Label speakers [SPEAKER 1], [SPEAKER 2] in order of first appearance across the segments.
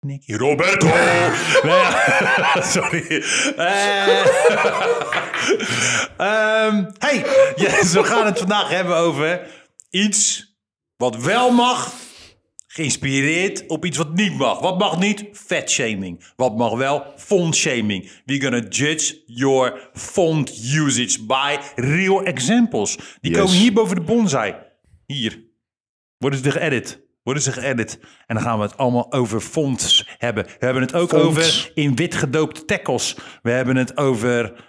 [SPEAKER 1] Nicky. Roberto! Nee, ja. sorry. Eh. Ehm, hey, yes, we gaan het vandaag hebben over iets wat wel mag, geïnspireerd op iets wat niet mag. Wat mag niet? Fat shaming. Wat mag wel? Font shaming. We're gonna judge your font usage by real examples. Die
[SPEAKER 2] Yes.
[SPEAKER 1] komen hier boven de bonsai. Hier. Worden ze geëdit. Worden ze geëdit. En dan gaan we het allemaal over fonts hebben. We hebben het ook
[SPEAKER 2] Fonts.
[SPEAKER 1] over in wit gedoopte tackles. We hebben het over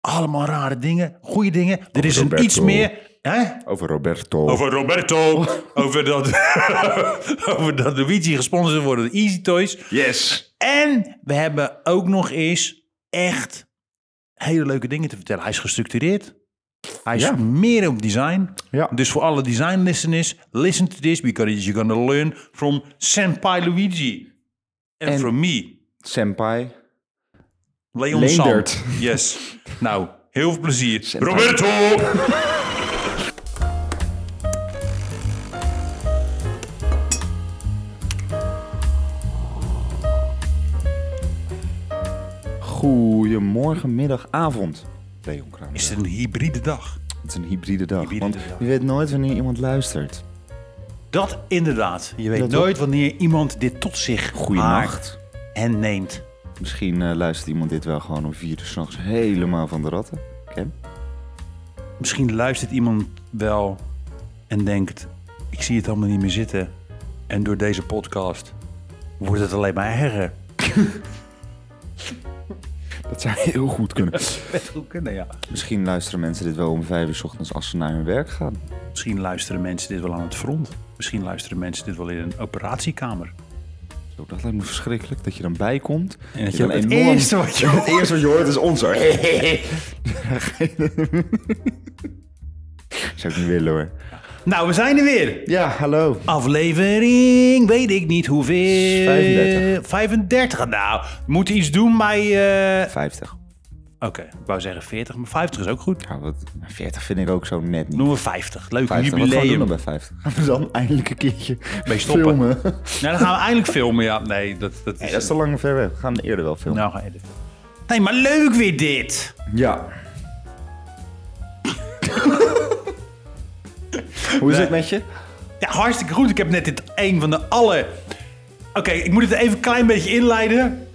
[SPEAKER 1] allemaal rare dingen. Goede dingen. er is een
[SPEAKER 2] Roberto.
[SPEAKER 1] iets meer... Hè?
[SPEAKER 2] Over Roberto.
[SPEAKER 1] Over Roberto. over, dat, over dat Luigi gesponsord wordt door Easy Toys.
[SPEAKER 2] Yes.
[SPEAKER 1] En we hebben ook nog eens echt hele leuke dingen te vertellen. Hij is gestructureerd. Hij is
[SPEAKER 2] Ja.
[SPEAKER 1] meer op design.
[SPEAKER 2] Ja.
[SPEAKER 1] Dus voor alle design listeners, listen to this because you're gonna learn from Senpai Luigi. And,
[SPEAKER 2] En-
[SPEAKER 1] from me,
[SPEAKER 2] Senpai.
[SPEAKER 1] Leon Sam.
[SPEAKER 2] Leendert.
[SPEAKER 1] Yes. Nou, heel veel plezier.
[SPEAKER 2] Senpai.
[SPEAKER 1] Roberto!
[SPEAKER 2] Goedemorgen, middag, avond. Leon Kramer.
[SPEAKER 1] Is het een hybride dag?
[SPEAKER 2] Het is een hybride dag.
[SPEAKER 1] Hybride
[SPEAKER 2] want
[SPEAKER 1] dag.
[SPEAKER 2] je weet nooit wanneer iemand luistert.
[SPEAKER 1] Dat inderdaad. Je weet
[SPEAKER 2] Dat
[SPEAKER 1] nooit wanneer iemand dit tot zich haakt
[SPEAKER 2] Goeienacht.
[SPEAKER 1] en neemt.
[SPEAKER 2] Misschien eh, luistert iemand dit wel gewoon om vier uur s'nachts helemaal van de ratten. Ken?
[SPEAKER 1] Misschien luistert iemand wel en denkt: ik zie het allemaal niet meer zitten. En door deze podcast wordt het alleen maar erger.
[SPEAKER 2] Dat zou heel goed kunnen.
[SPEAKER 1] Best goed kunnen, ja.
[SPEAKER 2] Misschien luisteren mensen dit wel om vijf uur 's ochtends als ze naar hun werk gaan.
[SPEAKER 1] Misschien luisteren mensen dit wel aan het front. Misschien luisteren mensen dit wel in een operatiekamer.
[SPEAKER 2] Zo, dat lijkt me verschrikkelijk dat je dan bijkomt.
[SPEAKER 1] En dat je
[SPEAKER 2] dan
[SPEAKER 1] ook het eerste wat je
[SPEAKER 2] Het eerste wat je hoort is ons hoor. Zou ik niet willen hoor.
[SPEAKER 1] Nou, we zijn er weer.
[SPEAKER 2] Ja, hallo.
[SPEAKER 1] Aflevering, weet ik niet hoeveel.
[SPEAKER 2] 35.
[SPEAKER 1] 35. Nou, we moeten iets doen bij. eh,
[SPEAKER 2] 50.
[SPEAKER 1] Oké, ik wou zeggen 40, maar 50 is ook goed.
[SPEAKER 2] Ja, wat, 40 vind ik ook zo net niet.
[SPEAKER 1] Noemen we 50. Leuk
[SPEAKER 2] 50. Wat gaan we doen
[SPEAKER 1] jubileum.
[SPEAKER 2] dan bij 50? Gaan we dan eindelijk een keertje
[SPEAKER 1] Mee stoppen.
[SPEAKER 2] filmen?
[SPEAKER 1] Nou, dan gaan we eindelijk filmen. Ja, nee, dat, dat is...
[SPEAKER 2] Nee, dat is te lang ver weg. We gaan eerder wel filmen.
[SPEAKER 1] Nou, ga je dit filmen. Nee, maar leuk weer dit.
[SPEAKER 2] Ja. Hoe is het met je?
[SPEAKER 1] Ja, hartstikke goed. Ik heb net dit een van de alle... Oké, ik moet het even een klein beetje inleiden.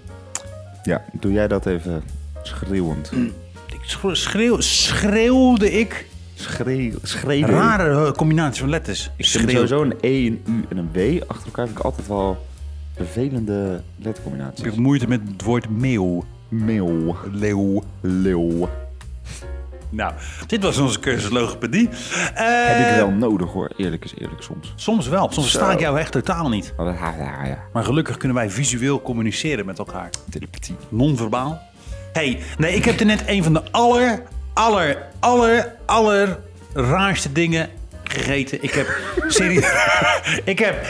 [SPEAKER 2] Ja, doe jij dat even schreeuwend.
[SPEAKER 1] Ik schro- schreeuw, schreeuwde ik.
[SPEAKER 2] Schreeuw, schreeuwen.
[SPEAKER 1] Rare eh, combinatie van letters. Ik
[SPEAKER 2] Ik vind
[SPEAKER 1] schreeuw.
[SPEAKER 2] sowieso een E, een U en een W achter elkaar vind ik altijd wel vervelende
[SPEAKER 1] Ik heb
[SPEAKER 2] lettercombinaties.
[SPEAKER 1] moeite met het woord meeuw.
[SPEAKER 2] Meeuw.
[SPEAKER 1] Leeuw.
[SPEAKER 2] Leeuw.
[SPEAKER 1] Nou, dit was onze cursus logopedie. Eh,
[SPEAKER 2] Heb ik wel nodig hoor, eerlijk is eerlijk soms.
[SPEAKER 1] Soms wel. Soms versta ik jou echt totaal niet.
[SPEAKER 2] Maar dat- ja, ja, ja.
[SPEAKER 1] Maar gelukkig kunnen wij visueel communiceren met elkaar.
[SPEAKER 2] Telepathie.
[SPEAKER 1] Non-verbaal. hey, nee, ik heb er net een van de aller, aller, aller, aller raarste dingen gegeten. Ik heb, serieus, ik heb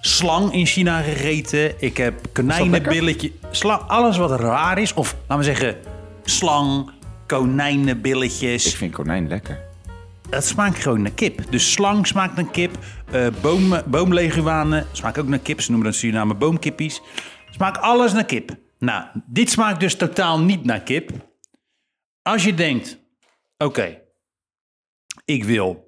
[SPEAKER 1] slang in China gegeten. Ik heb konijnenbilletje. Slang, alles wat raar is. Of laten we zeggen, slang, konijnenbilletjes.
[SPEAKER 2] Ik vind konijn lekker.
[SPEAKER 1] Dat smaakt gewoon naar kip. Dus slang smaakt naar kip. eh, boom, boomleguanen smaakt ook naar kip. Ze noemen dat in Suriname boomkippies. Smaakt alles naar kip. Nou, dit smaakt dus totaal niet naar kip. Als je denkt, oké, ik wil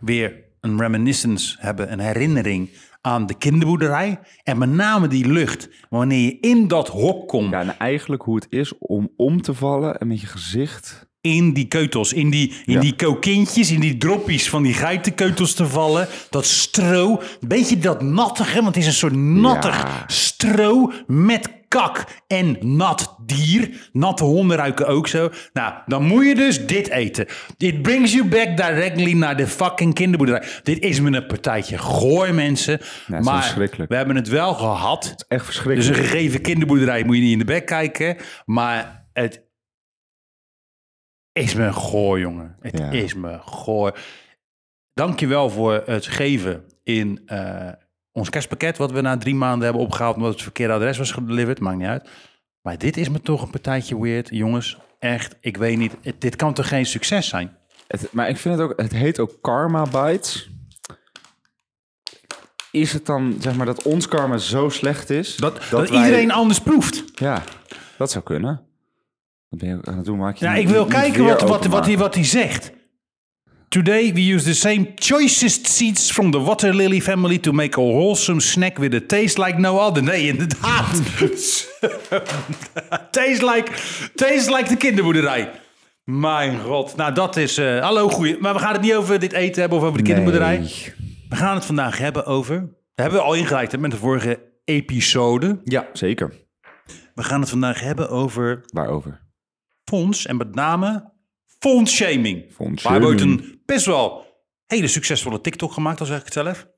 [SPEAKER 1] weer een reminiscence hebben, een herinnering aan de kinderboerderij. En met name die lucht, wanneer je in dat hok komt,
[SPEAKER 2] Ja, en eigenlijk hoe het is om om te vallen en met je gezicht.
[SPEAKER 1] in die keutels, in die, in
[SPEAKER 2] Ja.
[SPEAKER 1] die kokintjes, in die droppies van die geitenkeutels te vallen. Dat stro, beetje dat nattige, want het is een soort nattig
[SPEAKER 2] Ja.
[SPEAKER 1] stro met kak en nat dier. Natte honden ruiken ook zo. Nou, dan moet je dus dit eten. Dit brings you back directly naar de fucking kinderboerderij. Dit is me een partijtje gooi, mensen.
[SPEAKER 2] is
[SPEAKER 1] maar
[SPEAKER 2] verschrikkelijk.
[SPEAKER 1] we hebben het wel gehad.
[SPEAKER 2] Echt
[SPEAKER 1] Dus
[SPEAKER 2] verschrikkelijk.
[SPEAKER 1] een gegeven kinderboerderij moet je niet in de bek kijken. Maar het is me een gooi, jongen. Het
[SPEAKER 2] Ja.
[SPEAKER 1] is me gooi. Dankjewel voor het geven in eh, ons kerstpakket... wat we na drie maanden hebben opgehaald... omdat het verkeerde adres was gedeliverd. Maakt niet uit. Maar dit is me toch een partijtje weird. Jongens, echt, ik weet niet. Het- dit kan toch geen succes zijn?
[SPEAKER 2] Het- maar ik vind het ook, het heet ook Karma Bites. is het dan, zeg maar, dat ons karma zo slecht is...
[SPEAKER 1] Dat, dat,
[SPEAKER 2] wij-
[SPEAKER 1] iedereen anders proeft.
[SPEAKER 2] Ja, dat zou kunnen. Wat ben je ook aan het doen? Maak je
[SPEAKER 1] Ja,
[SPEAKER 2] niet-
[SPEAKER 1] ik wil
[SPEAKER 2] niet
[SPEAKER 1] kijken
[SPEAKER 2] weer
[SPEAKER 1] wat, wat, wat, hij,
[SPEAKER 2] openmaken.
[SPEAKER 1] wat hij zegt. Today we use the same choicest seeds from the water lily family to make a wholesome snack with a taste like no other. Nee, inderdaad. taste, like, taste like de kinderboerderij. Mijn god. Nou, dat is... eh, hallo, goeie. Maar we gaan het niet over dit eten hebben of over de kinderboerderij.
[SPEAKER 2] Nee.
[SPEAKER 1] We gaan het vandaag hebben over... Dat hebben we al ingeleid hè, met de vorige episode.
[SPEAKER 2] Ja, zeker.
[SPEAKER 1] We gaan het vandaag hebben over
[SPEAKER 2] Waarover?
[SPEAKER 1] fonds en met name fondsshaming.
[SPEAKER 2] Fondshaming.
[SPEAKER 1] Waar wordt een best wel hele succesvolle TikTok gemaakt, al zeg ik het zelf.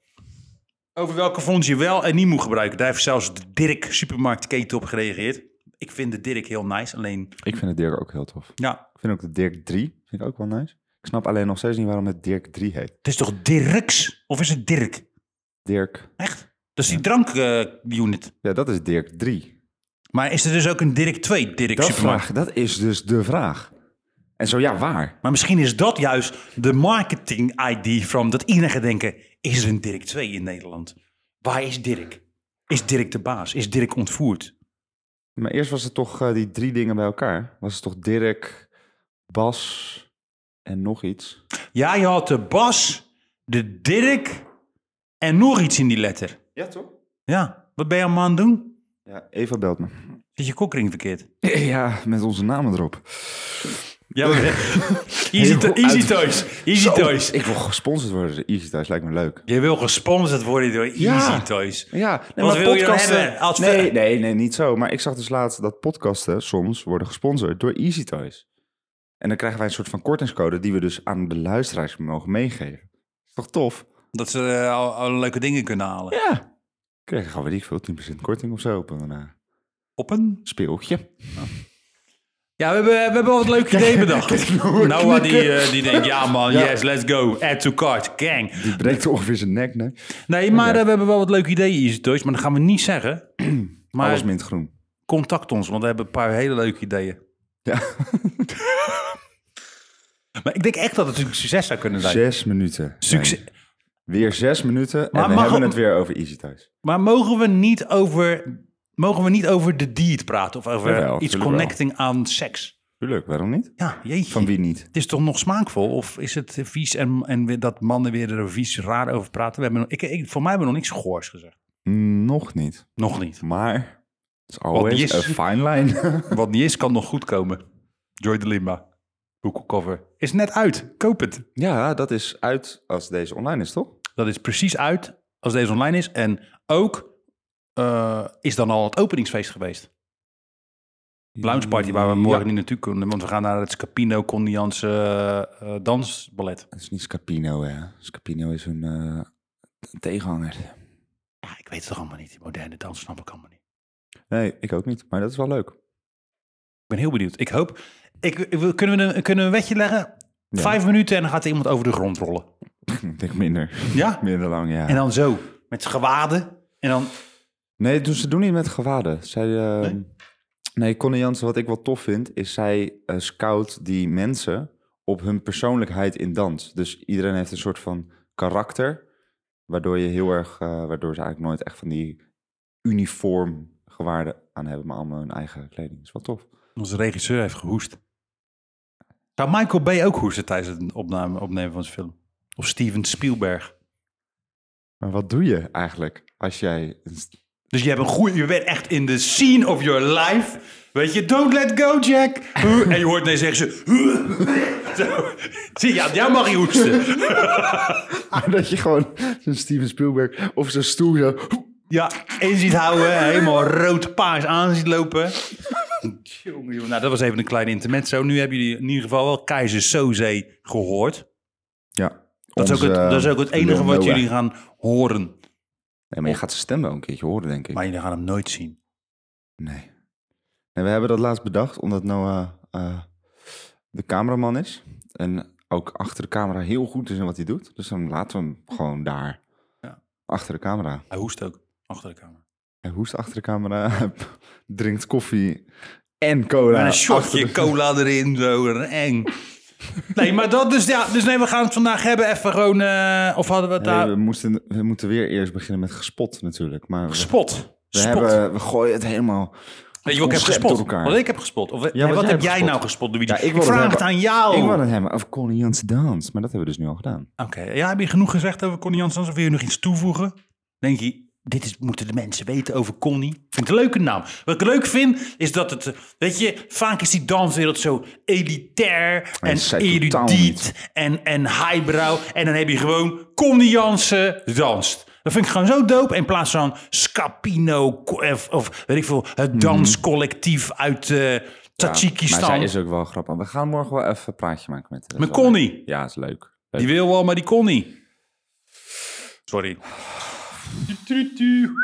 [SPEAKER 1] Over welke fonds je wel en niet moet gebruiken. Daar heeft zelfs de Dirk supermarktketen op gereageerd. Ik vind de Dirk heel nice, alleen
[SPEAKER 2] Ik vind het Dirk ook heel tof.
[SPEAKER 1] ja,
[SPEAKER 2] Ik vind ook de Dirk 3, vind ik ook wel nice. Ik snap alleen nog steeds niet waarom het Dirk 3 heet.
[SPEAKER 1] het is toch Dirks? Of is het Dirk?
[SPEAKER 2] Dirk,
[SPEAKER 1] Echt? Dat is die drankunit.
[SPEAKER 2] ja, dat is Dirk 3.
[SPEAKER 1] maar is er dus ook een Dirk 2, Dirk
[SPEAKER 2] Dat,
[SPEAKER 1] supermarkt?
[SPEAKER 2] vraag, dat is dus de vraag. En zo ja, waar?
[SPEAKER 1] Maar misschien is dat juist de marketing-ID van dat iedereen gaat denken... is er een Dirk 2 in Nederland? Waar is Dirk? Is Dirk de baas? Is Dirk ontvoerd?
[SPEAKER 2] Maar eerst was het toch eh, die drie dingen bij elkaar. Was het toch Dirk, Bas en nog iets?
[SPEAKER 1] Ja, je had de Bas, de Dirk en nog iets in die letter.
[SPEAKER 2] Ja, toch?
[SPEAKER 1] Ja, wat ben je allemaal aan het doen?
[SPEAKER 2] Ja, Eva belt me.
[SPEAKER 1] Zit je kokring verkeerd?
[SPEAKER 2] Ja, met onze namen erop.
[SPEAKER 1] Ja, maar- easy, to-
[SPEAKER 2] Heel
[SPEAKER 1] easy
[SPEAKER 2] uit-
[SPEAKER 1] Toys. Easy Toys.
[SPEAKER 2] Ik wil gesponsord worden door Easy Thuis, lijkt me leuk.
[SPEAKER 1] Je wil gesponsord worden door
[SPEAKER 2] Ja.
[SPEAKER 1] Easy Toys.
[SPEAKER 2] Ja, nee,
[SPEAKER 1] Wat
[SPEAKER 2] maar
[SPEAKER 1] wil je dan
[SPEAKER 2] podcasten-
[SPEAKER 1] hebben als-
[SPEAKER 2] nee, nee, nee, niet zo. Maar ik zag dus laatst dat podcasten soms worden gesponsord door Easy Toys. En dan krijgen wij een soort van kortingscode die we dus aan de luisteraars mogen meegeven. Is toch tof?
[SPEAKER 1] Dat ze eh, al, al leuke dingen kunnen halen.
[SPEAKER 2] Ja. Krijg je gewoon, weet ik veel, 10% korting of zo op een eh,
[SPEAKER 1] Op een?
[SPEAKER 2] speeltje.
[SPEAKER 1] Ja, we hebben, we hebben al wat leuke ideeën bedacht.
[SPEAKER 2] hoe we
[SPEAKER 1] Noah die,
[SPEAKER 2] knikken.
[SPEAKER 1] eh, die denkt, ja man,
[SPEAKER 2] Ja.
[SPEAKER 1] yes, let's go. Add to cart, gang.
[SPEAKER 2] Die breekt ongeveer zijn nek, nee.
[SPEAKER 1] Nee, maar eh, we hebben wel wat leuke ideeën, Easy Toys. Maar dat gaan we niet zeggen. Maar
[SPEAKER 2] Alles mint groen.
[SPEAKER 1] contact ons, want we hebben een paar hele leuke ideeën.
[SPEAKER 2] Ja.
[SPEAKER 1] Maar ik denk echt dat het een succes zou kunnen zijn.
[SPEAKER 2] Zes minuten.
[SPEAKER 1] Succes.
[SPEAKER 2] Nee. Weer zes minuten en
[SPEAKER 1] Maar
[SPEAKER 2] we
[SPEAKER 1] mag-
[SPEAKER 2] hebben het weer over Easy Thuis.
[SPEAKER 1] Maar mogen we niet over, mogen we niet over de deed praten? Of over
[SPEAKER 2] Jawel,
[SPEAKER 1] iets
[SPEAKER 2] tuurlijk
[SPEAKER 1] connecting aan seks?
[SPEAKER 2] Tuurlijk, waarom niet?
[SPEAKER 1] Ja, jeetje.
[SPEAKER 2] Van wie niet?
[SPEAKER 1] Het is toch nog smaakvol? Of is het vies en, en weer- dat mannen weer er vies raar over praten? We hebben, nog- ik, ik, voor mij hebben we nog niks goors gezegd.
[SPEAKER 2] Nog niet.
[SPEAKER 1] Nog niet.
[SPEAKER 2] Maar het is always
[SPEAKER 1] is-
[SPEAKER 2] a fine line.
[SPEAKER 1] Wat niet is, kan nog goed komen. Joy de Lima. Boekcover. Is net uit. Koop het.
[SPEAKER 2] ja, dat is uit als deze online is, toch?
[SPEAKER 1] Dat is precies uit als deze online is. En ook eh, is dan al het openingsfeest geweest. Lounge party waar we morgen niet naartoe kunnen. Want we gaan naar het Scapino Condians eh, eh, dansballet.
[SPEAKER 2] Het is niet Scapino, hè. Scapino is een eh, tegenhanger.
[SPEAKER 1] Ja, ik weet het toch allemaal niet. Die moderne dans snap ik allemaal niet.
[SPEAKER 2] Nee, ik ook niet. Maar dat is wel leuk.
[SPEAKER 1] Ik ben heel benieuwd. Ik hoop... Ik, ik wil- kunnen, we een, kunnen we een wedje leggen?
[SPEAKER 2] Ja.
[SPEAKER 1] Vijf minuten en dan gaat er iemand over de grond rollen.
[SPEAKER 2] Ik denk minder.
[SPEAKER 1] Ja?
[SPEAKER 2] Minder lang, ja.
[SPEAKER 1] En dan zo. Met gewaden. En dan...
[SPEAKER 2] Nee, dus ze doen niet met gewaden. Zij, eh,
[SPEAKER 1] Nee?
[SPEAKER 2] nee? Connie Jansen, wat ik wel tof vind, is zij eh, scout die mensen op hun persoonlijkheid in dans. Dus iedereen heeft een soort van karakter, waardoor je heel erg, eh, waardoor ze eigenlijk nooit echt van die uniform gewaarden aan hebben, maar allemaal hun eigen kleding. Dat is wel tof.
[SPEAKER 1] Onze regisseur heeft gehoest. Zou Michael Bay ook hoesten tijdens het opname, opnemen van zijn film? Of Steven Spielberg?
[SPEAKER 2] Maar wat doe je eigenlijk als jij... een st-
[SPEAKER 1] Dus je, hebt een goeie, je bent echt in de scene of your life. Weet je, don't let go, Jack. En je hoort nee zeggen ze... Zo. Zie, ja, jou mag je hoesten.
[SPEAKER 2] Ah, dat je gewoon zo'n Steven Spielberg of zo'n stoel zo...
[SPEAKER 1] Ja, in ziet houden, helemaal rood-paars aan ziet lopen. Tjonge, jonge. Nou, dat was even een klein intermezzo. Nu hebben jullie in ieder geval wel Keizer Soze gehoord.
[SPEAKER 2] Ja.
[SPEAKER 1] Dat is, ook het,
[SPEAKER 2] onze, eh,
[SPEAKER 1] dat is ook het enige
[SPEAKER 2] Lil
[SPEAKER 1] wat
[SPEAKER 2] Noah.
[SPEAKER 1] jullie gaan horen.
[SPEAKER 2] Nee, maar je gaat zijn stem wel een keertje horen, denk ik.
[SPEAKER 1] Maar jullie gaan hem nooit zien.
[SPEAKER 2] Nee. En we hebben dat laatst bedacht omdat Noah eh, de cameraman is. En ook achter de camera heel goed is in wat hij doet. Dus dan laten we hem gewoon daar.
[SPEAKER 1] Ja.
[SPEAKER 2] Achter de camera.
[SPEAKER 1] Hij hoest ook achter de camera.
[SPEAKER 2] Hij hoest achter de camera. hij drinkt koffie en cola.
[SPEAKER 1] Met een
[SPEAKER 2] achter
[SPEAKER 1] shotje
[SPEAKER 2] de-
[SPEAKER 1] cola erin, zo eng. Nee, maar dat dus, ja. Dus nee, we gaan het vandaag hebben even gewoon... eh, of hadden we het
[SPEAKER 2] Hey,
[SPEAKER 1] daar...
[SPEAKER 2] we, moesten, we moeten weer eerst beginnen met gespot natuurlijk. Maar we,
[SPEAKER 1] Spot.
[SPEAKER 2] we,
[SPEAKER 1] Spot.
[SPEAKER 2] hebben, we gooien het helemaal...
[SPEAKER 1] Weet je wat ik heb
[SPEAKER 2] concept
[SPEAKER 1] gespot?
[SPEAKER 2] door elkaar.
[SPEAKER 1] Wat ik heb gespot? Of, nee,
[SPEAKER 2] wat
[SPEAKER 1] wat
[SPEAKER 2] jij
[SPEAKER 1] heb
[SPEAKER 2] hebt
[SPEAKER 1] jij
[SPEAKER 2] gespot.
[SPEAKER 1] nou gespot, Luigi?
[SPEAKER 2] Ja, ik wil
[SPEAKER 1] ik
[SPEAKER 2] het
[SPEAKER 1] vraag
[SPEAKER 2] hebben.
[SPEAKER 1] het aan jou.
[SPEAKER 2] Ik wou het hebben over Connie Jansen Dans, maar dat hebben we dus nu al gedaan.
[SPEAKER 1] Oké, ja, heb je genoeg gezegd over Connie Janssens? Of wil je nog iets toevoegen? Denk je, dit is, moeten de mensen weten over Connie? Ik vind het een leuke naam. Wat ik leuk vind, is dat het... eh, Weet je, vaak is die danswereld zo elitair en
[SPEAKER 2] zij totaal
[SPEAKER 1] erudiet en, en highbrow. En dan heb je gewoon Connie Jansen danst. Dat vind ik gewoon zo dope. In plaats van Scapino ko- of, of weet ik veel, het danscollectief uit eh
[SPEAKER 2] Mhm. Maar zij
[SPEAKER 1] Tajikistan.
[SPEAKER 2] is ook wel grappig. We gaan morgen wel even een praatje maken met haar. Dat
[SPEAKER 1] Met
[SPEAKER 2] is wel
[SPEAKER 1] Connie?
[SPEAKER 2] leuk. Ja, is leuk.
[SPEAKER 1] Die wil wel, maar die kon niet. Sorry.
[SPEAKER 2] Eh,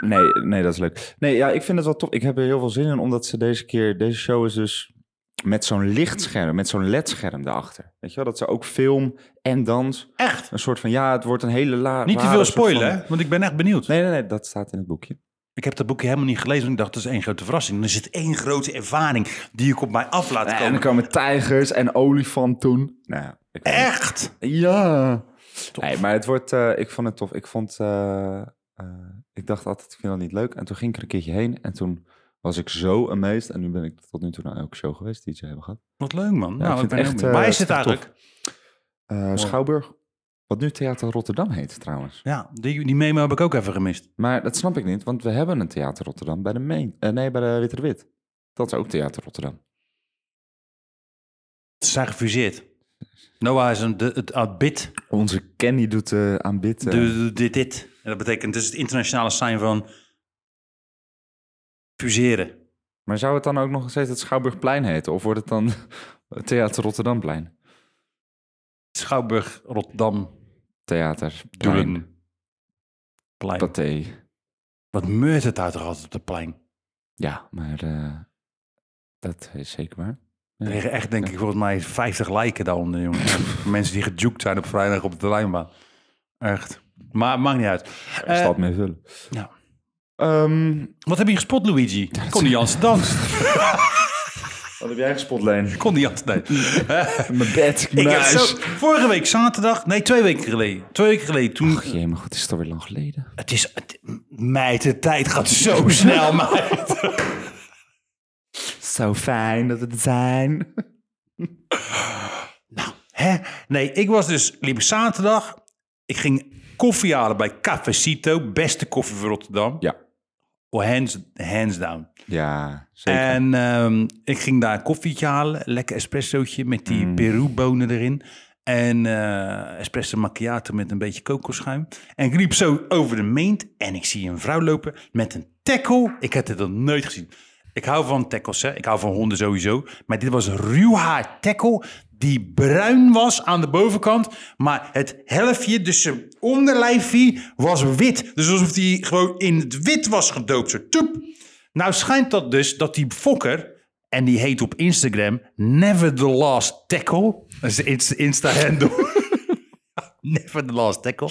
[SPEAKER 2] Nee, nee, dat is leuk. Nee, ja, ik vind het wel tof. Ik heb er heel veel zin in, omdat ze deze keer... Deze show is dus met zo'n lichtscherm, met zo'n ledscherm daarachter. Weet je wel, dat ze ook film en dans...
[SPEAKER 1] Echt?
[SPEAKER 2] Een soort van, ja, het wordt een hele la.
[SPEAKER 1] Niet te
[SPEAKER 2] rare
[SPEAKER 1] veel
[SPEAKER 2] soort van-
[SPEAKER 1] spoilen, hè? want ik ben echt benieuwd.
[SPEAKER 2] Nee, nee, nee, dat staat in het boekje.
[SPEAKER 1] Ik heb dat boekje helemaal niet gelezen, want ik dacht, dat is één grote verrassing. Er zit één grote ervaring die ik op mij af laat
[SPEAKER 2] en
[SPEAKER 1] komen.
[SPEAKER 2] dan komen tijgers en olifanten. Nou ja. ik weet niet.
[SPEAKER 1] Echt?
[SPEAKER 2] Ja. Nee, maar het wordt, eh, ik vond het tof. Ik vond, eh, eh, ik dacht altijd, ik vind dat niet leuk. En toen ging ik er een keertje heen en toen was ik zo amazed. En nu ben ik tot nu toe naar elke show geweest die ze hebben gehad.
[SPEAKER 1] Wat leuk, man.
[SPEAKER 2] ik
[SPEAKER 1] nou, ik
[SPEAKER 2] vind
[SPEAKER 1] ben
[SPEAKER 2] het
[SPEAKER 1] echt,
[SPEAKER 2] echt,
[SPEAKER 1] Waar
[SPEAKER 2] eh,
[SPEAKER 1] is het
[SPEAKER 2] echt tof.
[SPEAKER 1] eigenlijk?
[SPEAKER 2] Eh, Schouwburg, wat nu Theater Rotterdam heet trouwens.
[SPEAKER 1] Ja, die, die memo heb ik ook even gemist.
[SPEAKER 2] Maar dat snap ik niet, want we hebben een Theater Rotterdam bij de, Meen, eh, nee, bij de Witte de Wit. Dat is ook Theater Rotterdam.
[SPEAKER 1] Ze zijn gefuseerd. Noah is een, de, het aanbid,
[SPEAKER 2] Onze Kenny doet eh aan bid. eh,
[SPEAKER 1] dit, dit. En dat betekent dus het internationale zijn van fuseren.
[SPEAKER 2] Maar zou het dan ook nog steeds het Schouwburgplein heten? Of wordt het dan het Theater Rotterdamplein?
[SPEAKER 1] Schouwburg, Rotterdam,
[SPEAKER 2] Theater, plein,
[SPEAKER 1] Doelen. Plein.
[SPEAKER 2] paté.
[SPEAKER 1] Wat meurt het daar toch altijd op de plein?
[SPEAKER 2] Ja, maar eh, dat is zeker waar.
[SPEAKER 1] Er liggen echt, denk ik, volgens mij 50 lijken daaronder, jongen. Mensen die gejukt zijn op vrijdag op de lijnbaan. Echt. Maar maakt niet uit. Eh,
[SPEAKER 2] Stad mee vullen.
[SPEAKER 1] ja.
[SPEAKER 2] Ehm,
[SPEAKER 1] Wat heb je gespot, Luigi? Connie Jansen danst.
[SPEAKER 2] Wat heb jij gespot, Leen?
[SPEAKER 1] Connie Jansen, nee.
[SPEAKER 2] Mijn bed,
[SPEAKER 1] Ik
[SPEAKER 2] mijn
[SPEAKER 1] heb
[SPEAKER 2] huis.
[SPEAKER 1] zo, vorige week zaterdag, nee, twee weken geleden. Twee weken geleden, toen...
[SPEAKER 2] Jee, maar goed, is het alweer lang geleden?
[SPEAKER 1] Het is... Het, meid, de tijd gaat zo snel, meid.
[SPEAKER 2] Zo fijn dat we er zijn.
[SPEAKER 1] Hè? Nee, ik was dus, liep zaterdag. Ik ging koffie halen bij Cafecito. Beste koffie voor Rotterdam.
[SPEAKER 2] Ja,
[SPEAKER 1] Oh, hands, hands down.
[SPEAKER 2] ja zeker.
[SPEAKER 1] En ehm, ik ging daar een koffietje halen. Lekker espressootje met die Peru-bonen erin. En eh, espresso macchiato met een beetje kokosschuim. En ik liep zo over de meent. En ik zie een vrouw lopen met een tackle. Ik had dit nog nooit gezien. Ik hou van tackles, hè. Ik hou van honden sowieso. Maar dit was een ruw haar tackle die bruin was aan de bovenkant. Maar het helftje, dus zijn onderlijfje, was wit. Dus alsof die gewoon in het wit was gedoopt. Zo, toep. Nou schijnt dat dus dat die fokker, en die heet op Instagram Never the Last Tackle. Dat is ins- Insta-handle. Never the Last Tackle.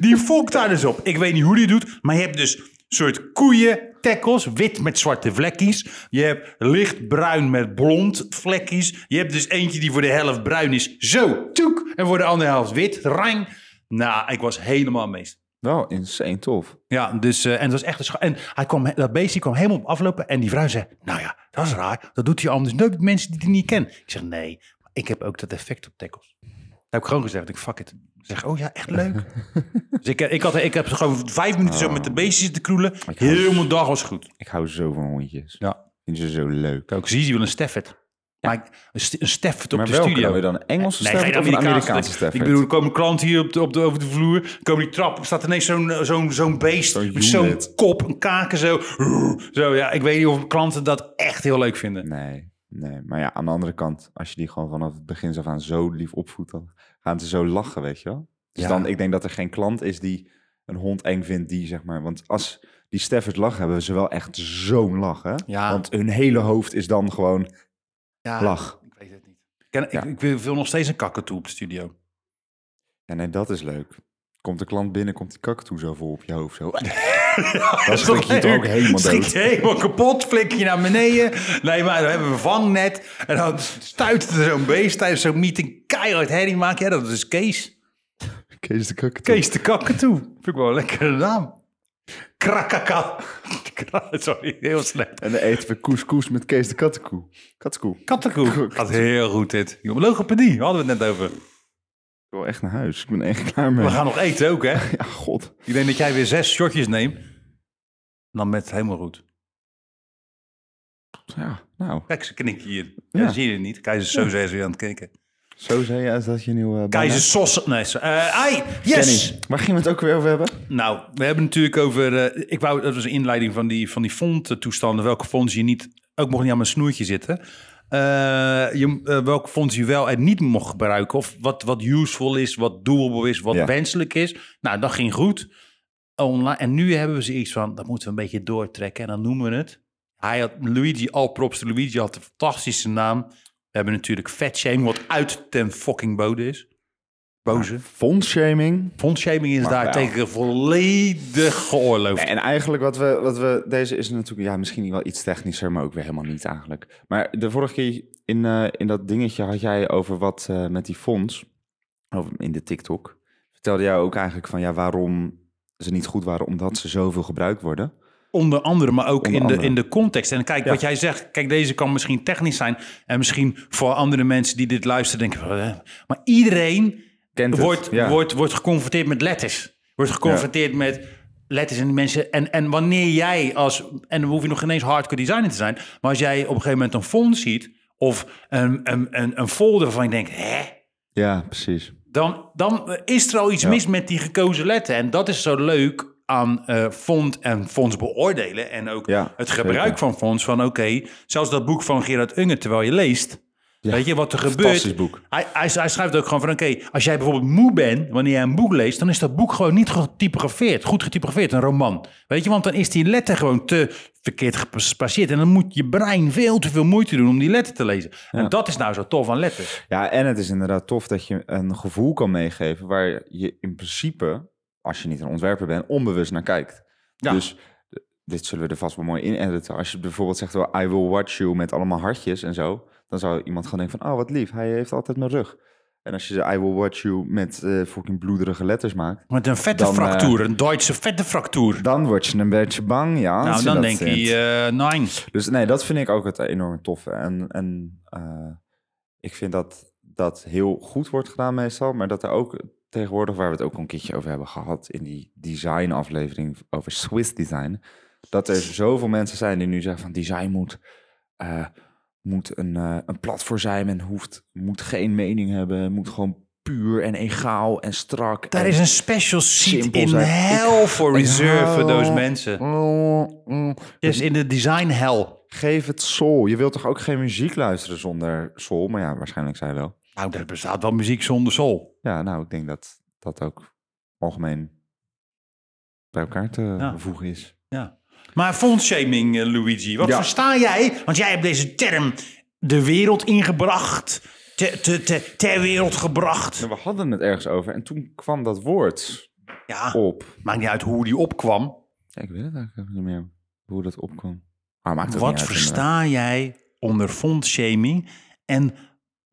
[SPEAKER 1] Die fokt daar dus op. Ik weet niet hoe die doet, maar je hebt dus soort koeien tackles, wit met zwarte vlekjes. Je hebt lichtbruin met blond vlekjes. Je hebt dus eentje die voor de helft bruin is, zo, toek. En voor de andere helft wit, rang. Nou, ik was helemaal meest.
[SPEAKER 2] Wel insane tof.
[SPEAKER 1] Ja, dus, eh, en het was echt een scha- En hij kwam, dat beestje kwam helemaal op aflopen. En die vrouw zei, nou ja, dat is raar. Dat doet hij anders nooit met mensen die hij niet kent. Ik zeg, nee, maar ik heb ook dat effect op tackles. Dat heb ik gewoon gezegd. Ik fuck it. Ik zeg, oh ja, echt leuk. dus ik, ik, had, ik heb gewoon vijf minuten zo met de beestjes te kroelen. Heel mijn dag was goed.
[SPEAKER 2] Ik hou zo van hondjes.
[SPEAKER 1] Ja.
[SPEAKER 2] Vind je ze zo leuk.
[SPEAKER 1] Ik ook zie, die wil een Stafford. Maar ik- een st- een Stafford op
[SPEAKER 2] Maar
[SPEAKER 1] de
[SPEAKER 2] welke
[SPEAKER 1] studio.
[SPEAKER 2] dan weer dan? Een Engelse
[SPEAKER 1] nee,
[SPEAKER 2] Stafford
[SPEAKER 1] geen
[SPEAKER 2] of een
[SPEAKER 1] Amerikaanse
[SPEAKER 2] Amerikaanse Stafford?
[SPEAKER 1] Ik bedoel, er komen klanten hier op de, op de, over de vloer. komen die trap op. staat ineens zo'n eh, zo'n zo'n beest.
[SPEAKER 2] Zo'n
[SPEAKER 1] met zo'n
[SPEAKER 2] unit.
[SPEAKER 1] kop, een kaken zo. Zo, ja. Ik weet niet of klanten dat echt heel leuk vinden.
[SPEAKER 2] Nee, nee. Maar ja, aan de andere kant, als je die gewoon vanaf het begin af aan zo lief opvoedt, dan gaan ze zo lachen, weet je wel. Dus
[SPEAKER 1] Ja.
[SPEAKER 2] dan, ik denk dat er geen klant is die een hond eng vindt, die zeg maar, want als die Steffers lachen, hebben ze wel echt zo'n lach, hè?
[SPEAKER 1] Ja.
[SPEAKER 2] Want hun hele hoofd is dan gewoon
[SPEAKER 1] Ja,
[SPEAKER 2] lach.
[SPEAKER 1] Ik weet het niet. Ik, ken- ik-
[SPEAKER 2] Ja.
[SPEAKER 1] ik, wil- wil nog steeds een kakatoe op de studio.
[SPEAKER 2] En nee, dat is leuk. Komt de klant binnen, komt die kakatoe zo vol op je hoofd, zo. Dan schrik je toch ook helemaal
[SPEAKER 1] Schrik
[SPEAKER 2] dood.
[SPEAKER 1] je helemaal kapot, flik je naar beneden. Nee, maar dan hebben we een vangnet. En dan stuit er zo'n beest tijdens zo'n meeting keihard herrie maken. Ja, dat is Kees.
[SPEAKER 2] Kees de Kak.
[SPEAKER 1] Kees de Kakatoe. Vind ik wel een lekkere naam. Krakaka. Kra- Sorry, heel slecht.
[SPEAKER 2] En dan eten we couscous met Kees de Kattenkoe. Kattenkoe. Ik
[SPEAKER 1] Kattenkoe. Gaat heel goed dit. Jongen, Logopedie, hadden we het net over.
[SPEAKER 2] wil echt naar huis. Ik ben echt klaar mee.
[SPEAKER 1] We gaan nog eten ook, hè?
[SPEAKER 2] Ja, god.
[SPEAKER 1] Ik denk dat jij weer zes shotjes neemt. Dan met helemaal goed.
[SPEAKER 2] Ja, nou.
[SPEAKER 1] Kijk, ze knikken hier. Ja,
[SPEAKER 2] Ja.
[SPEAKER 1] zie je het niet. Keizer Soze is weer aan het knikken.
[SPEAKER 2] Zo zei je als dat je nieuwe... Uh,
[SPEAKER 1] Keizer Sos... Nee, zo- eh, ai, yes!
[SPEAKER 2] Waar gingen we het ook weer over hebben?
[SPEAKER 1] Nou, we hebben natuurlijk over... eh, ik wou, dat was een inleiding van die, van die fondtoestanden. Welke fonds je niet... Ook mocht niet aan mijn snoertje zitten. Eh, je, eh, welke fonds je wel en niet mocht gebruiken. Of wat, wat useful is, wat doable is, wat
[SPEAKER 2] Ja.
[SPEAKER 1] wenselijk is. Nou, dat ging goed. Online. En nu hebben we ze iets van, dat moeten we een beetje doortrekken. En dan noemen we het. Hij had Luigi, alprops Luigi, had een fantastische naam. We hebben natuurlijk Fat Shame, wat uit ten fucking bode is. Boze.
[SPEAKER 2] Ah, Fondshaming.
[SPEAKER 1] Fondshaming is
[SPEAKER 2] Maar
[SPEAKER 1] daar
[SPEAKER 2] wel.
[SPEAKER 1] tegen volledig geoorloofd.
[SPEAKER 2] En eigenlijk wat we, wat we... Deze is natuurlijk ja, misschien wel iets technischer, maar ook weer helemaal niet eigenlijk. Maar de vorige keer in, eh, in dat dingetje had jij over wat eh, met die fonds... Over, in de TikTok. Vertelde jij ook eigenlijk van ja, waarom ze niet goed waren... omdat ze zoveel gebruikt worden.
[SPEAKER 1] Onder andere, maar ook
[SPEAKER 2] Onder
[SPEAKER 1] in, de,
[SPEAKER 2] andere.
[SPEAKER 1] in de context. En kijk, wat jij zegt, kijk, deze kan misschien technisch zijn. En misschien voor andere mensen die dit luisteren denken... van, "Hè?" Maar iedereen
[SPEAKER 2] Kent het,
[SPEAKER 1] wordt,
[SPEAKER 2] ja.
[SPEAKER 1] wordt, wordt geconfronteerd met letters. Wordt geconfronteerd met letters en die mensen. En, en wanneer jij als... En dan hoef je nog geen eens hardcore designer te zijn. Maar als jij op een gegeven moment een font ziet... of een, een, een, een folder waarvan je denkt... hè?
[SPEAKER 2] Ja, precies.
[SPEAKER 1] dan, dan is er al iets mis met die gekozen letter. En dat is zo leuk aan eh font en fonds beoordelen. En ook
[SPEAKER 2] Ja,
[SPEAKER 1] het gebruik
[SPEAKER 2] zeker.
[SPEAKER 1] van fonds. Van oké, zelfs dat boek van Gerard Unger, terwijl je leest. weet je wat er gebeurt?
[SPEAKER 2] fantastisch boek.
[SPEAKER 1] Hij, hij, hij schrijft ook gewoon van oké, als jij bijvoorbeeld moe bent wanneer jij een boek leest, dan is dat boek gewoon niet getypografeerd, goed getypografeerd, een roman. Weet je, want dan is die letter gewoon te verkeerd gespacieerd. En dan moet je brein veel te veel moeite doen om die letter te lezen. En dat is nou zo tof aan letters.
[SPEAKER 2] Ja, en het is inderdaad tof dat je een gevoel kan meegeven waar je in principe, als je niet een ontwerper bent, onbewust naar kijkt.
[SPEAKER 1] Ja.
[SPEAKER 2] Dus d- dit zullen we er vast wel mooi in editen. Als je bijvoorbeeld zegt, wel, I will watch you met allemaal hartjes en zo, dan zou iemand gaan denken van, oh wat lief, hij heeft altijd mijn rug. En als je de I will watch you met eh, fucking bloederige letters maakt,
[SPEAKER 1] Met een vette
[SPEAKER 2] Dan, eh,
[SPEAKER 1] fractuur, een Duitse vette fractuur.
[SPEAKER 2] dan word je een beetje bang, ja. als
[SPEAKER 1] nou,
[SPEAKER 2] je
[SPEAKER 1] dan
[SPEAKER 2] dat
[SPEAKER 1] denk je,
[SPEAKER 2] vindt.
[SPEAKER 1] eh nein.
[SPEAKER 2] Dus nee, dat vind ik ook het enorm toffe. En, en eh, ik vind dat dat heel goed wordt gedaan meestal. Maar dat er ook tegenwoordig, waar we het ook een keertje over hebben gehad... in die design aflevering over Swiss design... dat er zoveel mensen zijn die nu zeggen van design moet... eh, moet een, eh, een platform zijn en hoeft, moet geen mening hebben. Moet gewoon puur en egaal en strak.
[SPEAKER 1] Daar
[SPEAKER 2] en-
[SPEAKER 1] is een special seat
[SPEAKER 2] Simpel
[SPEAKER 1] in
[SPEAKER 2] zijn.
[SPEAKER 1] hell for reserve
[SPEAKER 2] hou-
[SPEAKER 1] voor those mensen.
[SPEAKER 2] Mm, mm.
[SPEAKER 1] Yes, in de design hell.
[SPEAKER 2] Geef het soul. Je wilt toch ook geen muziek luisteren zonder soul? Maar ja, waarschijnlijk zij wel.
[SPEAKER 1] Nou, er bestaat wel muziek zonder soul.
[SPEAKER 2] Ja, nou, ik denk dat dat ook algemeen bij elkaar te
[SPEAKER 1] Ja.
[SPEAKER 2] voegen is.
[SPEAKER 1] Ja. Maar fondshaming, eh, Luigi. Wat
[SPEAKER 2] Ja.
[SPEAKER 1] versta jij? Want jij hebt deze term de wereld ingebracht. Te, te, te, ter wereld gebracht.
[SPEAKER 2] Nou, we hadden het ergens over en toen kwam dat woord
[SPEAKER 1] Ja,
[SPEAKER 2] op.
[SPEAKER 1] maakt niet uit hoe die opkwam.
[SPEAKER 2] Ja, ik weet het eigenlijk even niet meer hoe dat opkwam. Maar maakt het
[SPEAKER 1] Wat versta jij onder fondshaming? En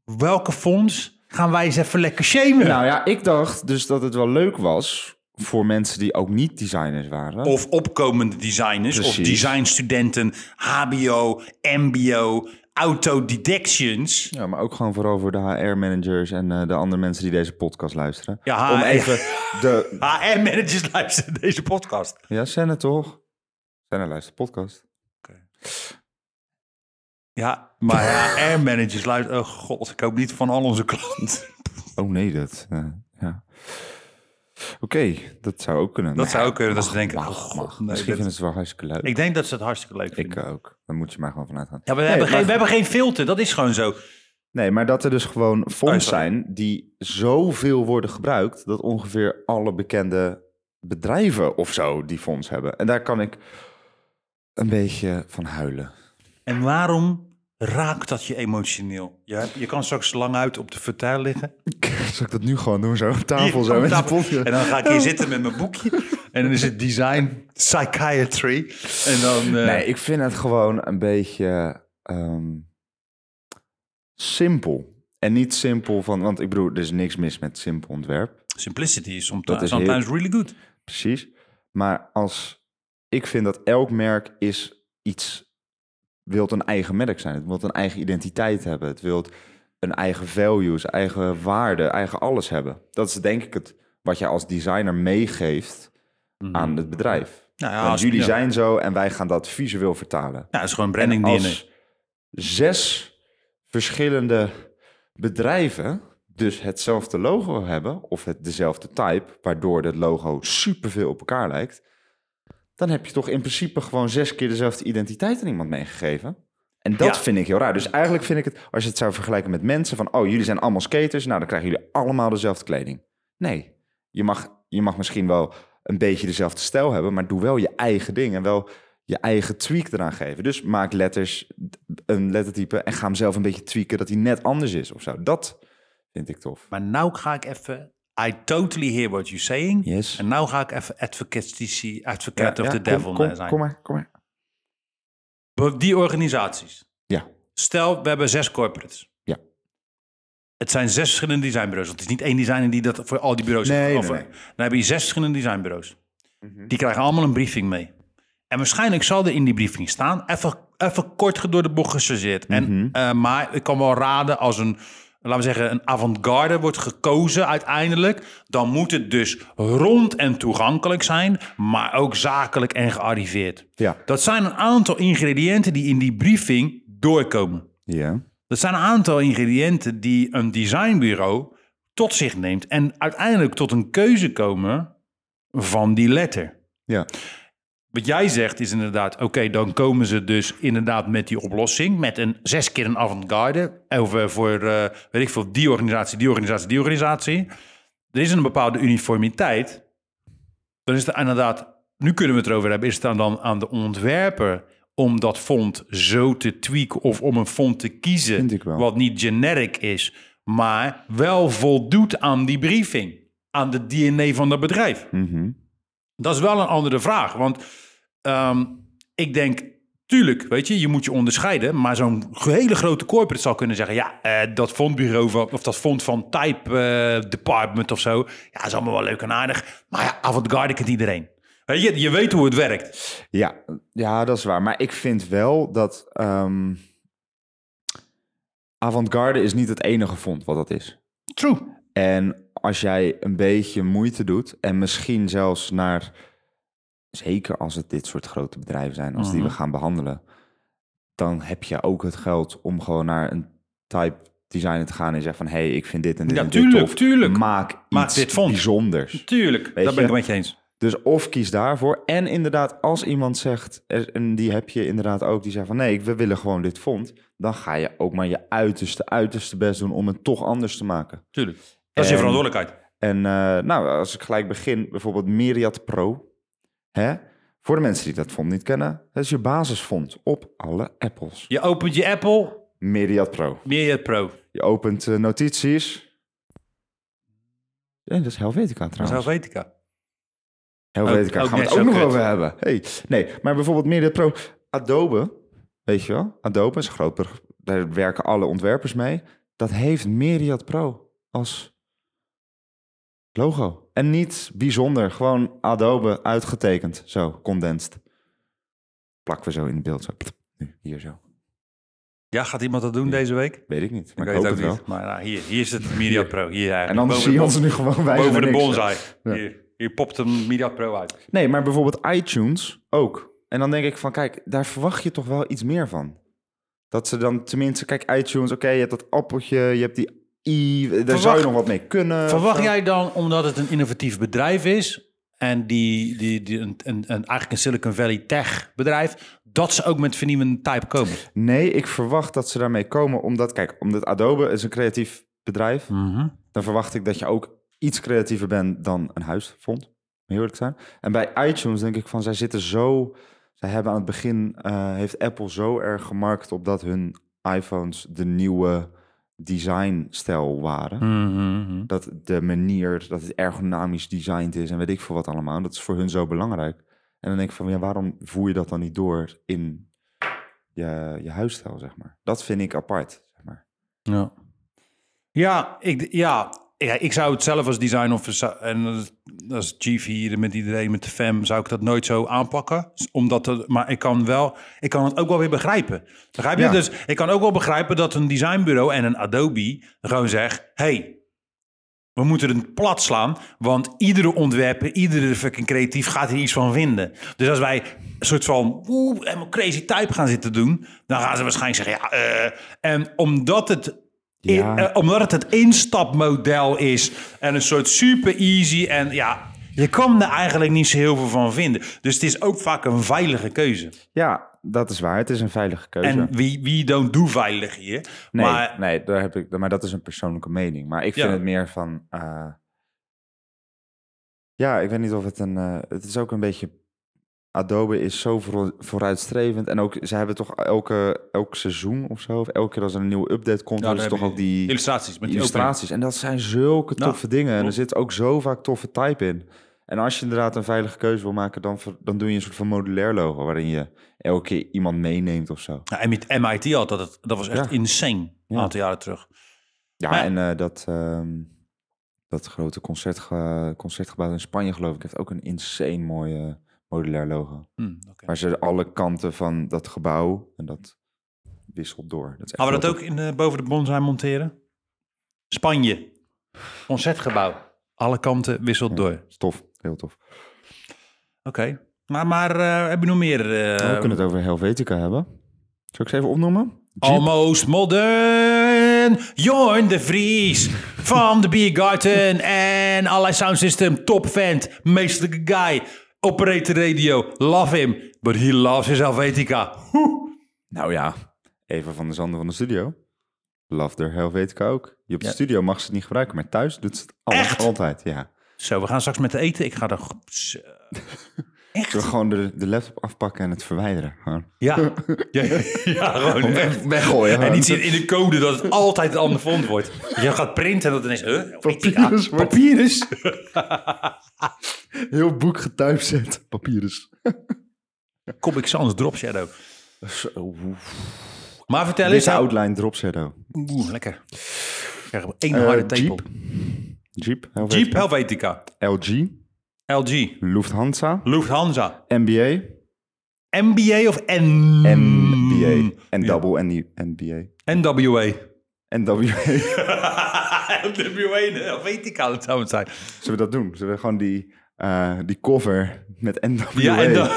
[SPEAKER 1] welke fonds gaan wij eens even lekker shamen?
[SPEAKER 2] Nou ja, ik dacht dus dat het wel leuk was voor mensen die ook niet designers waren.
[SPEAKER 1] Of opkomende designers, of
[SPEAKER 2] Precies.
[SPEAKER 1] designstudenten, HBO, MBO, autodidactions.
[SPEAKER 2] Ja, maar ook gewoon vooral voor de HR-managers en eh, de andere mensen die deze podcast luisteren.
[SPEAKER 1] Ja,
[SPEAKER 2] Om
[SPEAKER 1] HR.
[SPEAKER 2] even de...
[SPEAKER 1] HR-managers luisteren deze podcast.
[SPEAKER 2] Ja, Senne toch? Senne luistert podcast.
[SPEAKER 1] Ja, maar HR-managers luisteren... Oh god, ik hoop niet van al onze klanten.
[SPEAKER 2] Oh nee, dat... eh, ja. Oké, dat zou ook kunnen.
[SPEAKER 1] Dat
[SPEAKER 2] Maar
[SPEAKER 1] zou
[SPEAKER 2] ja,
[SPEAKER 1] ook kunnen, dat ze denken...
[SPEAKER 2] Mag,
[SPEAKER 1] oh, god,
[SPEAKER 2] mag.
[SPEAKER 1] nee,
[SPEAKER 2] Misschien
[SPEAKER 1] dat-
[SPEAKER 2] vinden ze het wel hartstikke leuk.
[SPEAKER 1] Ik denk dat ze het hartstikke leuk
[SPEAKER 2] Ik
[SPEAKER 1] vinden.
[SPEAKER 2] ook. Daar moet je maar gewoon vanuit gaan.
[SPEAKER 1] ja, maar we,
[SPEAKER 2] Nee,
[SPEAKER 1] hebben
[SPEAKER 2] maar-
[SPEAKER 1] geen, we hebben geen filter, dat is gewoon zo.
[SPEAKER 2] Nee, maar dat er dus gewoon fonds
[SPEAKER 1] Oh, sorry.
[SPEAKER 2] zijn die zoveel worden gebruikt... dat ongeveer alle bekende bedrijven of zo die fonds hebben. En daar kan ik een beetje van huilen.
[SPEAKER 1] En waarom raakt dat je emotioneel? Je, hebt- je kan straks lang uit op de vertuil liggen.
[SPEAKER 2] Zal ik dat nu gewoon doen, zo op tafel?
[SPEAKER 1] Hier,
[SPEAKER 2] zo
[SPEAKER 1] op
[SPEAKER 2] met een
[SPEAKER 1] tafel.
[SPEAKER 2] potje?
[SPEAKER 1] En dan ga ik hier zitten met mijn boekje. En dan is het design psychiatry. En dan... eh,
[SPEAKER 2] Nee, ik vind het gewoon een beetje ehm, simpel. En niet simpel van, want ik bedoel, er is niks mis met simpel ontwerp.
[SPEAKER 1] Simplicity is
[SPEAKER 2] Dat
[SPEAKER 1] sometimes,
[SPEAKER 2] is
[SPEAKER 1] sometimes really good.
[SPEAKER 2] Precies. Maar als ik vind dat elk merk is iets wilt een eigen merk zijn. Het wilt een eigen identiteit hebben. Het wilt een eigen values, eigen waarde, eigen alles hebben. Dat is denk ik het wat je als designer meegeeft aan het bedrijf.
[SPEAKER 1] Nou ja,
[SPEAKER 2] Want
[SPEAKER 1] Mhm. als-
[SPEAKER 2] jullie
[SPEAKER 1] ja.
[SPEAKER 2] zijn zo en wij gaan dat visueel vertalen.
[SPEAKER 1] Ja, het is gewoon
[SPEAKER 2] En
[SPEAKER 1] branding DNA.
[SPEAKER 2] als zes verschillende bedrijven dus hetzelfde logo hebben of het dezelfde type, waardoor het logo superveel op elkaar lijkt, dan heb je toch in principe gewoon zes keer dezelfde identiteit aan iemand meegegeven. En dat
[SPEAKER 1] Ja.
[SPEAKER 2] vind ik heel raar. Dus eigenlijk vind ik het, als je het zou vergelijken met mensen van, oh, jullie zijn allemaal skaters, nou dan krijgen jullie allemaal dezelfde kleding. Nee, je mag, je mag misschien wel een beetje dezelfde stijl hebben, maar doe wel je eigen ding en wel je eigen tweak eraan geven. Dus maak letters, een lettertype en ga hem zelf een beetje tweaken dat hij net anders is of zo. Dat vind ik tof.
[SPEAKER 1] Maar nou ga ik even... I totally hear what you're saying.
[SPEAKER 2] Yes.
[SPEAKER 1] En nou ga ik even advocacy, advocate of the
[SPEAKER 2] kom-
[SPEAKER 1] devil
[SPEAKER 2] kom,
[SPEAKER 1] eh, zijn.
[SPEAKER 2] Kom maar, kom maar.
[SPEAKER 1] Be- Die organisaties.
[SPEAKER 2] Ja,
[SPEAKER 1] Stel, we hebben zes corporates.
[SPEAKER 2] Ja.
[SPEAKER 1] Het zijn zes verschillende designbureaus. Want het is niet één designer die dat voor al die bureaus
[SPEAKER 2] Nee, nee,
[SPEAKER 1] of-
[SPEAKER 2] nee. Mhm.
[SPEAKER 1] Dan heb je zes verschillende designbureaus. Die krijgen allemaal een briefing mee. En waarschijnlijk zal er in die briefing staan... even, even kort door de bocht gechargeerd. En,
[SPEAKER 2] Mhm.
[SPEAKER 1] eh, maar ik kan wel raden als een... Laten we zeggen, een avant-garde wordt gekozen uiteindelijk. Dan moet het dus rond en toegankelijk zijn, maar ook zakelijk en gearriveerd.
[SPEAKER 2] Ja.
[SPEAKER 1] Dat zijn een aantal ingrediënten die in die briefing doorkomen.
[SPEAKER 2] ja.
[SPEAKER 1] Dat zijn een aantal ingrediënten die een designbureau tot zich neemt en uiteindelijk tot een keuze komen van die letter.
[SPEAKER 2] ja.
[SPEAKER 1] Wat jij zegt is inderdaad, oké, dan komen ze dus inderdaad met die oplossing, met een zes keer een avant-garde, over voor, eh, weet ik veel, die organisatie, die organisatie, die organisatie. Er is een bepaalde uniformiteit. Dan is het inderdaad, nu kunnen we het erover hebben, is het dan, dan aan de ontwerper om dat font zo te tweaken of om een font te kiezen
[SPEAKER 2] Vind ik wel.
[SPEAKER 1] wat niet generic is, maar wel voldoet aan die briefing, aan de DNA van dat bedrijf.
[SPEAKER 2] Mhm.
[SPEAKER 1] Dat is wel een andere vraag. Want ehm, ik denk, tuurlijk, weet je, je moet je onderscheiden. Maar zo'n hele grote corporate zal kunnen zeggen: ja, eh, dat fondbureau van, of dat fond van Type eh, Department of zo. Ja, is allemaal wel leuk en aardig. Maar ja, avant-garde kent iedereen. Weet je, je weet hoe het werkt.
[SPEAKER 2] Ja, ja, dat is waar. Maar ik vind wel dat ehm avant-garde is niet het enige vond wat dat is.
[SPEAKER 1] True.
[SPEAKER 2] En als jij een beetje moeite doet en misschien zelfs naar, zeker als het dit soort grote bedrijven zijn, als
[SPEAKER 1] Mhm.
[SPEAKER 2] die we gaan behandelen, dan heb je ook het geld om gewoon naar een type designer te gaan en zeggen van, hé, hey, ik vind dit en dit
[SPEAKER 1] Ja,
[SPEAKER 2] en dit
[SPEAKER 1] tuurlijk,
[SPEAKER 2] tof.
[SPEAKER 1] tuurlijk.
[SPEAKER 2] Maak,
[SPEAKER 1] Maak
[SPEAKER 2] iets
[SPEAKER 1] dit vond.
[SPEAKER 2] bijzonders.
[SPEAKER 1] Tuurlijk.
[SPEAKER 2] Weet
[SPEAKER 1] daar ben
[SPEAKER 2] je?
[SPEAKER 1] ik het met je eens.
[SPEAKER 2] Dus of kies daarvoor. En inderdaad, als iemand zegt, er- en die heb je inderdaad ook, die zegt van nee, we willen gewoon dit fond. Dan ga je ook maar je uiterste, uiterste best doen om het toch anders te maken.
[SPEAKER 1] Tuurlijk. Dat is je
[SPEAKER 2] En-
[SPEAKER 1] verantwoordelijkheid.
[SPEAKER 2] En eh, nou, als ik gelijk begin, bijvoorbeeld Myriad Pro. Hè? Voor de mensen die dat fond niet kennen, dat is je basisfond op alle apples.
[SPEAKER 1] Je opent je Apple,
[SPEAKER 2] Myriad Pro.
[SPEAKER 1] Myriad Pro.
[SPEAKER 2] Je opent eh, notities. En dat is Helvetica
[SPEAKER 1] Dat is
[SPEAKER 2] trouwens.
[SPEAKER 1] Helvetica.
[SPEAKER 2] Heel
[SPEAKER 1] Ook-
[SPEAKER 2] weet ik, daar
[SPEAKER 1] ook
[SPEAKER 2] gaan we het
[SPEAKER 1] net zo
[SPEAKER 2] ook nog
[SPEAKER 1] kut.
[SPEAKER 2] over hebben. Hey, nee, maar bijvoorbeeld meer de pro... Adobe, weet je wel? Adobe is een groot, beg- daar werken alle ontwerpers mee. Dat heeft Myriad Pro als logo. En niet bijzonder, gewoon Adobe uitgetekend, zo, condensed. Plakken we zo in het beeld, zo. Nu, hier zo.
[SPEAKER 1] Ja, gaat iemand dat doen deze week?
[SPEAKER 2] Weet ik niet, maar
[SPEAKER 1] Ik
[SPEAKER 2] ik,
[SPEAKER 1] weet het
[SPEAKER 2] hoop
[SPEAKER 1] ook
[SPEAKER 2] het wel.
[SPEAKER 1] niet. Maar nou, hier, hier is het Myriad Pro. Hier, eigenlijk.
[SPEAKER 2] En anders
[SPEAKER 1] Boven
[SPEAKER 2] zie je
[SPEAKER 1] de
[SPEAKER 2] ons nu gewoon wijzen
[SPEAKER 1] Boven
[SPEAKER 2] naar
[SPEAKER 1] de
[SPEAKER 2] niks.
[SPEAKER 1] bonsai. Hier, hier popt een Media Pro uit.
[SPEAKER 2] Nee, maar bijvoorbeeld iTunes ook. En dan denk ik van, kijk, daar verwacht je toch wel iets meer van. Dat ze dan tenminste, kijk, iTunes, oké, je hebt dat appeltje, je hebt die i, daar zou
[SPEAKER 1] Verwacht-
[SPEAKER 2] je nog wat mee kunnen.
[SPEAKER 1] Verwacht
[SPEAKER 2] Zo.
[SPEAKER 1] jij dan, omdat het een innovatief bedrijf is... en die, die, die, een, een, een- eigenlijk een Silicon Valley tech bedrijf... dat ze ook met vernieuwende type komen?
[SPEAKER 2] Nee, ik verwacht dat ze daarmee komen, omdat, kijk, omdat Adobe is een creatief bedrijf,
[SPEAKER 1] Mhm.
[SPEAKER 2] dan verwacht ik dat je ook iets creatiever bent dan een huisfond, om heel eerlijk te zijn. En bij iTunes denk ik van, zij zitten zo, zij hebben aan het begin, eh, heeft Apple zo erg gemarkt op dat hun iPhones de nieuwe designstijl waren.
[SPEAKER 1] Hm. Mhm,
[SPEAKER 2] Dat de manier, dat het ergonomisch designed is en weet ik veel wat allemaal. Dat is voor hun zo belangrijk. En dan denk ik van, ja, waarom voer je dat dan niet door in je, je huisstijl, zeg maar. Dat vind ik apart, zeg maar.
[SPEAKER 1] Ja. Ja, ik, ja. ja, ik zou het zelf als design officer en als- als chief hier met iedereen, met de fam, zou ik dat nooit zo aanpakken. Omdat het, maar ik kan wel, ik kan het ook wel weer begrijpen. Begrijp je?
[SPEAKER 2] Ja.
[SPEAKER 1] Dus ik kan ook wel begrijpen dat een designbureau en een Adobe gewoon zegt, hey, we moeten het plat slaan, want iedere ontwerper, iedere fucking creatief gaat hier iets van vinden. Dus als wij een soort van oeh, helemaal crazy type gaan zitten doen, dan gaan ze waarschijnlijk zeggen, ja, eh. en omdat het in-
[SPEAKER 2] Ja.
[SPEAKER 1] eh, omdat het het instapmodel is en een soort super easy en ja, je kan er eigenlijk niet zo heel veel van vinden. Dus het is ook vaak een veilige keuze.
[SPEAKER 2] Ja, dat is waar. Het is een veilige keuze.
[SPEAKER 1] En wie, wie don't do veilig hier.
[SPEAKER 2] Nee,
[SPEAKER 1] maar
[SPEAKER 2] nee daar heb ik, maar dat is een persoonlijke mening. Maar ik vind
[SPEAKER 1] Ja.
[SPEAKER 2] het meer van. eh, ja, ik weet niet of het een. eh, het is ook een beetje. Adobe is zo voor- vooruitstrevend. En ook, ze hebben toch elke, elk seizoen of zo. Of elke keer als er een nieuwe update komt,
[SPEAKER 1] Ja,
[SPEAKER 2] hebben
[SPEAKER 1] daar
[SPEAKER 2] ze
[SPEAKER 1] heb
[SPEAKER 2] toch
[SPEAKER 1] je
[SPEAKER 2] ook die
[SPEAKER 1] illustraties met die opening.
[SPEAKER 2] illustraties. En dat zijn zulke
[SPEAKER 1] Ja,
[SPEAKER 2] toffe dingen. En er
[SPEAKER 1] klopt.
[SPEAKER 2] zit ook zo vaak toffe type in. En als je inderdaad een veilige keuze wil maken, dan, ver- dan doe je een soort van modulair logo. Waarin je elke keer iemand meeneemt of zo.
[SPEAKER 1] Ja, en met MIT had dat, het- dat was echt
[SPEAKER 2] Ja.
[SPEAKER 1] insane, een
[SPEAKER 2] Ja.
[SPEAKER 1] aantal jaren terug.
[SPEAKER 2] Ja,
[SPEAKER 1] Maar-
[SPEAKER 2] en eh, dat, ehm, dat grote concertge concertgebouw in Spanje, geloof ik, heeft ook een insane mooie modulair logo.
[SPEAKER 1] Hm, oké.
[SPEAKER 2] Waar ze alle kanten van dat gebouw en dat wisselt door. Dat is echt
[SPEAKER 1] Gaan we dat
[SPEAKER 2] heel
[SPEAKER 1] ook in, eh, boven de bonsai monteren? Spanje, concertgebouw. Alle kanten wisselt
[SPEAKER 2] Ja.
[SPEAKER 1] door.
[SPEAKER 2] tof. Tof, heel tof.
[SPEAKER 1] Oké. Maar, maar eh, heb je nog meer? eh,
[SPEAKER 2] Nou, we kunnen het over Helvetica hebben. Zal ik ze even opnoemen? Jeep.
[SPEAKER 1] Almost modern. Jorn de Vries van de Biergarten en allerlei sound system. Top vent, meestelijke guy. Operator radio, love him. But he loves his Helvetica.
[SPEAKER 2] Nou ja, Eva van de Zanden van de studio. Love their Helvetica ook. Je op de
[SPEAKER 1] Ja.
[SPEAKER 2] studio mag ze het niet gebruiken, maar thuis doet ze het al-
[SPEAKER 1] Echt?
[SPEAKER 2] altijd. Ja.
[SPEAKER 1] Zo, we gaan straks met eten. Ik ga er... Zo.
[SPEAKER 2] Door gewoon de, de laptop afpakken en het verwijderen. Gewoon.
[SPEAKER 1] Ja. ja, ja, gewoon echt.
[SPEAKER 2] Weggooien.
[SPEAKER 1] En
[SPEAKER 2] gewoon.
[SPEAKER 1] niet zien in de code dat het altijd een ander font wordt. Je gaat printen en dat ineens... Huh? Helvetica?
[SPEAKER 2] Papyrus wordt-
[SPEAKER 1] Papyrus?
[SPEAKER 2] Heel boek getuigd zet. Papyrus.
[SPEAKER 1] Comic Sans Drop Shadow. Maar vertel eens...
[SPEAKER 2] Witte outline drop shadow.
[SPEAKER 1] Oeh, lekker. Ik krijg hem één
[SPEAKER 2] Eh,
[SPEAKER 1] harde tepel.
[SPEAKER 2] Jeep. Jeep. Helvetica.
[SPEAKER 1] Jeep Helvetica.
[SPEAKER 2] LG.
[SPEAKER 1] LG.
[SPEAKER 2] Lufthansa.
[SPEAKER 1] Lufthansa.
[SPEAKER 2] NBA.
[SPEAKER 1] MBA of N... Mm,
[SPEAKER 2] NBA. En double en die NBA.
[SPEAKER 1] NWA.
[SPEAKER 2] NWA.
[SPEAKER 1] NWA Helvetica, dat zou het zijn.
[SPEAKER 2] Zullen we dat doen? Zullen we gewoon die, eh, die cover met NWA...
[SPEAKER 1] Ja, en dan,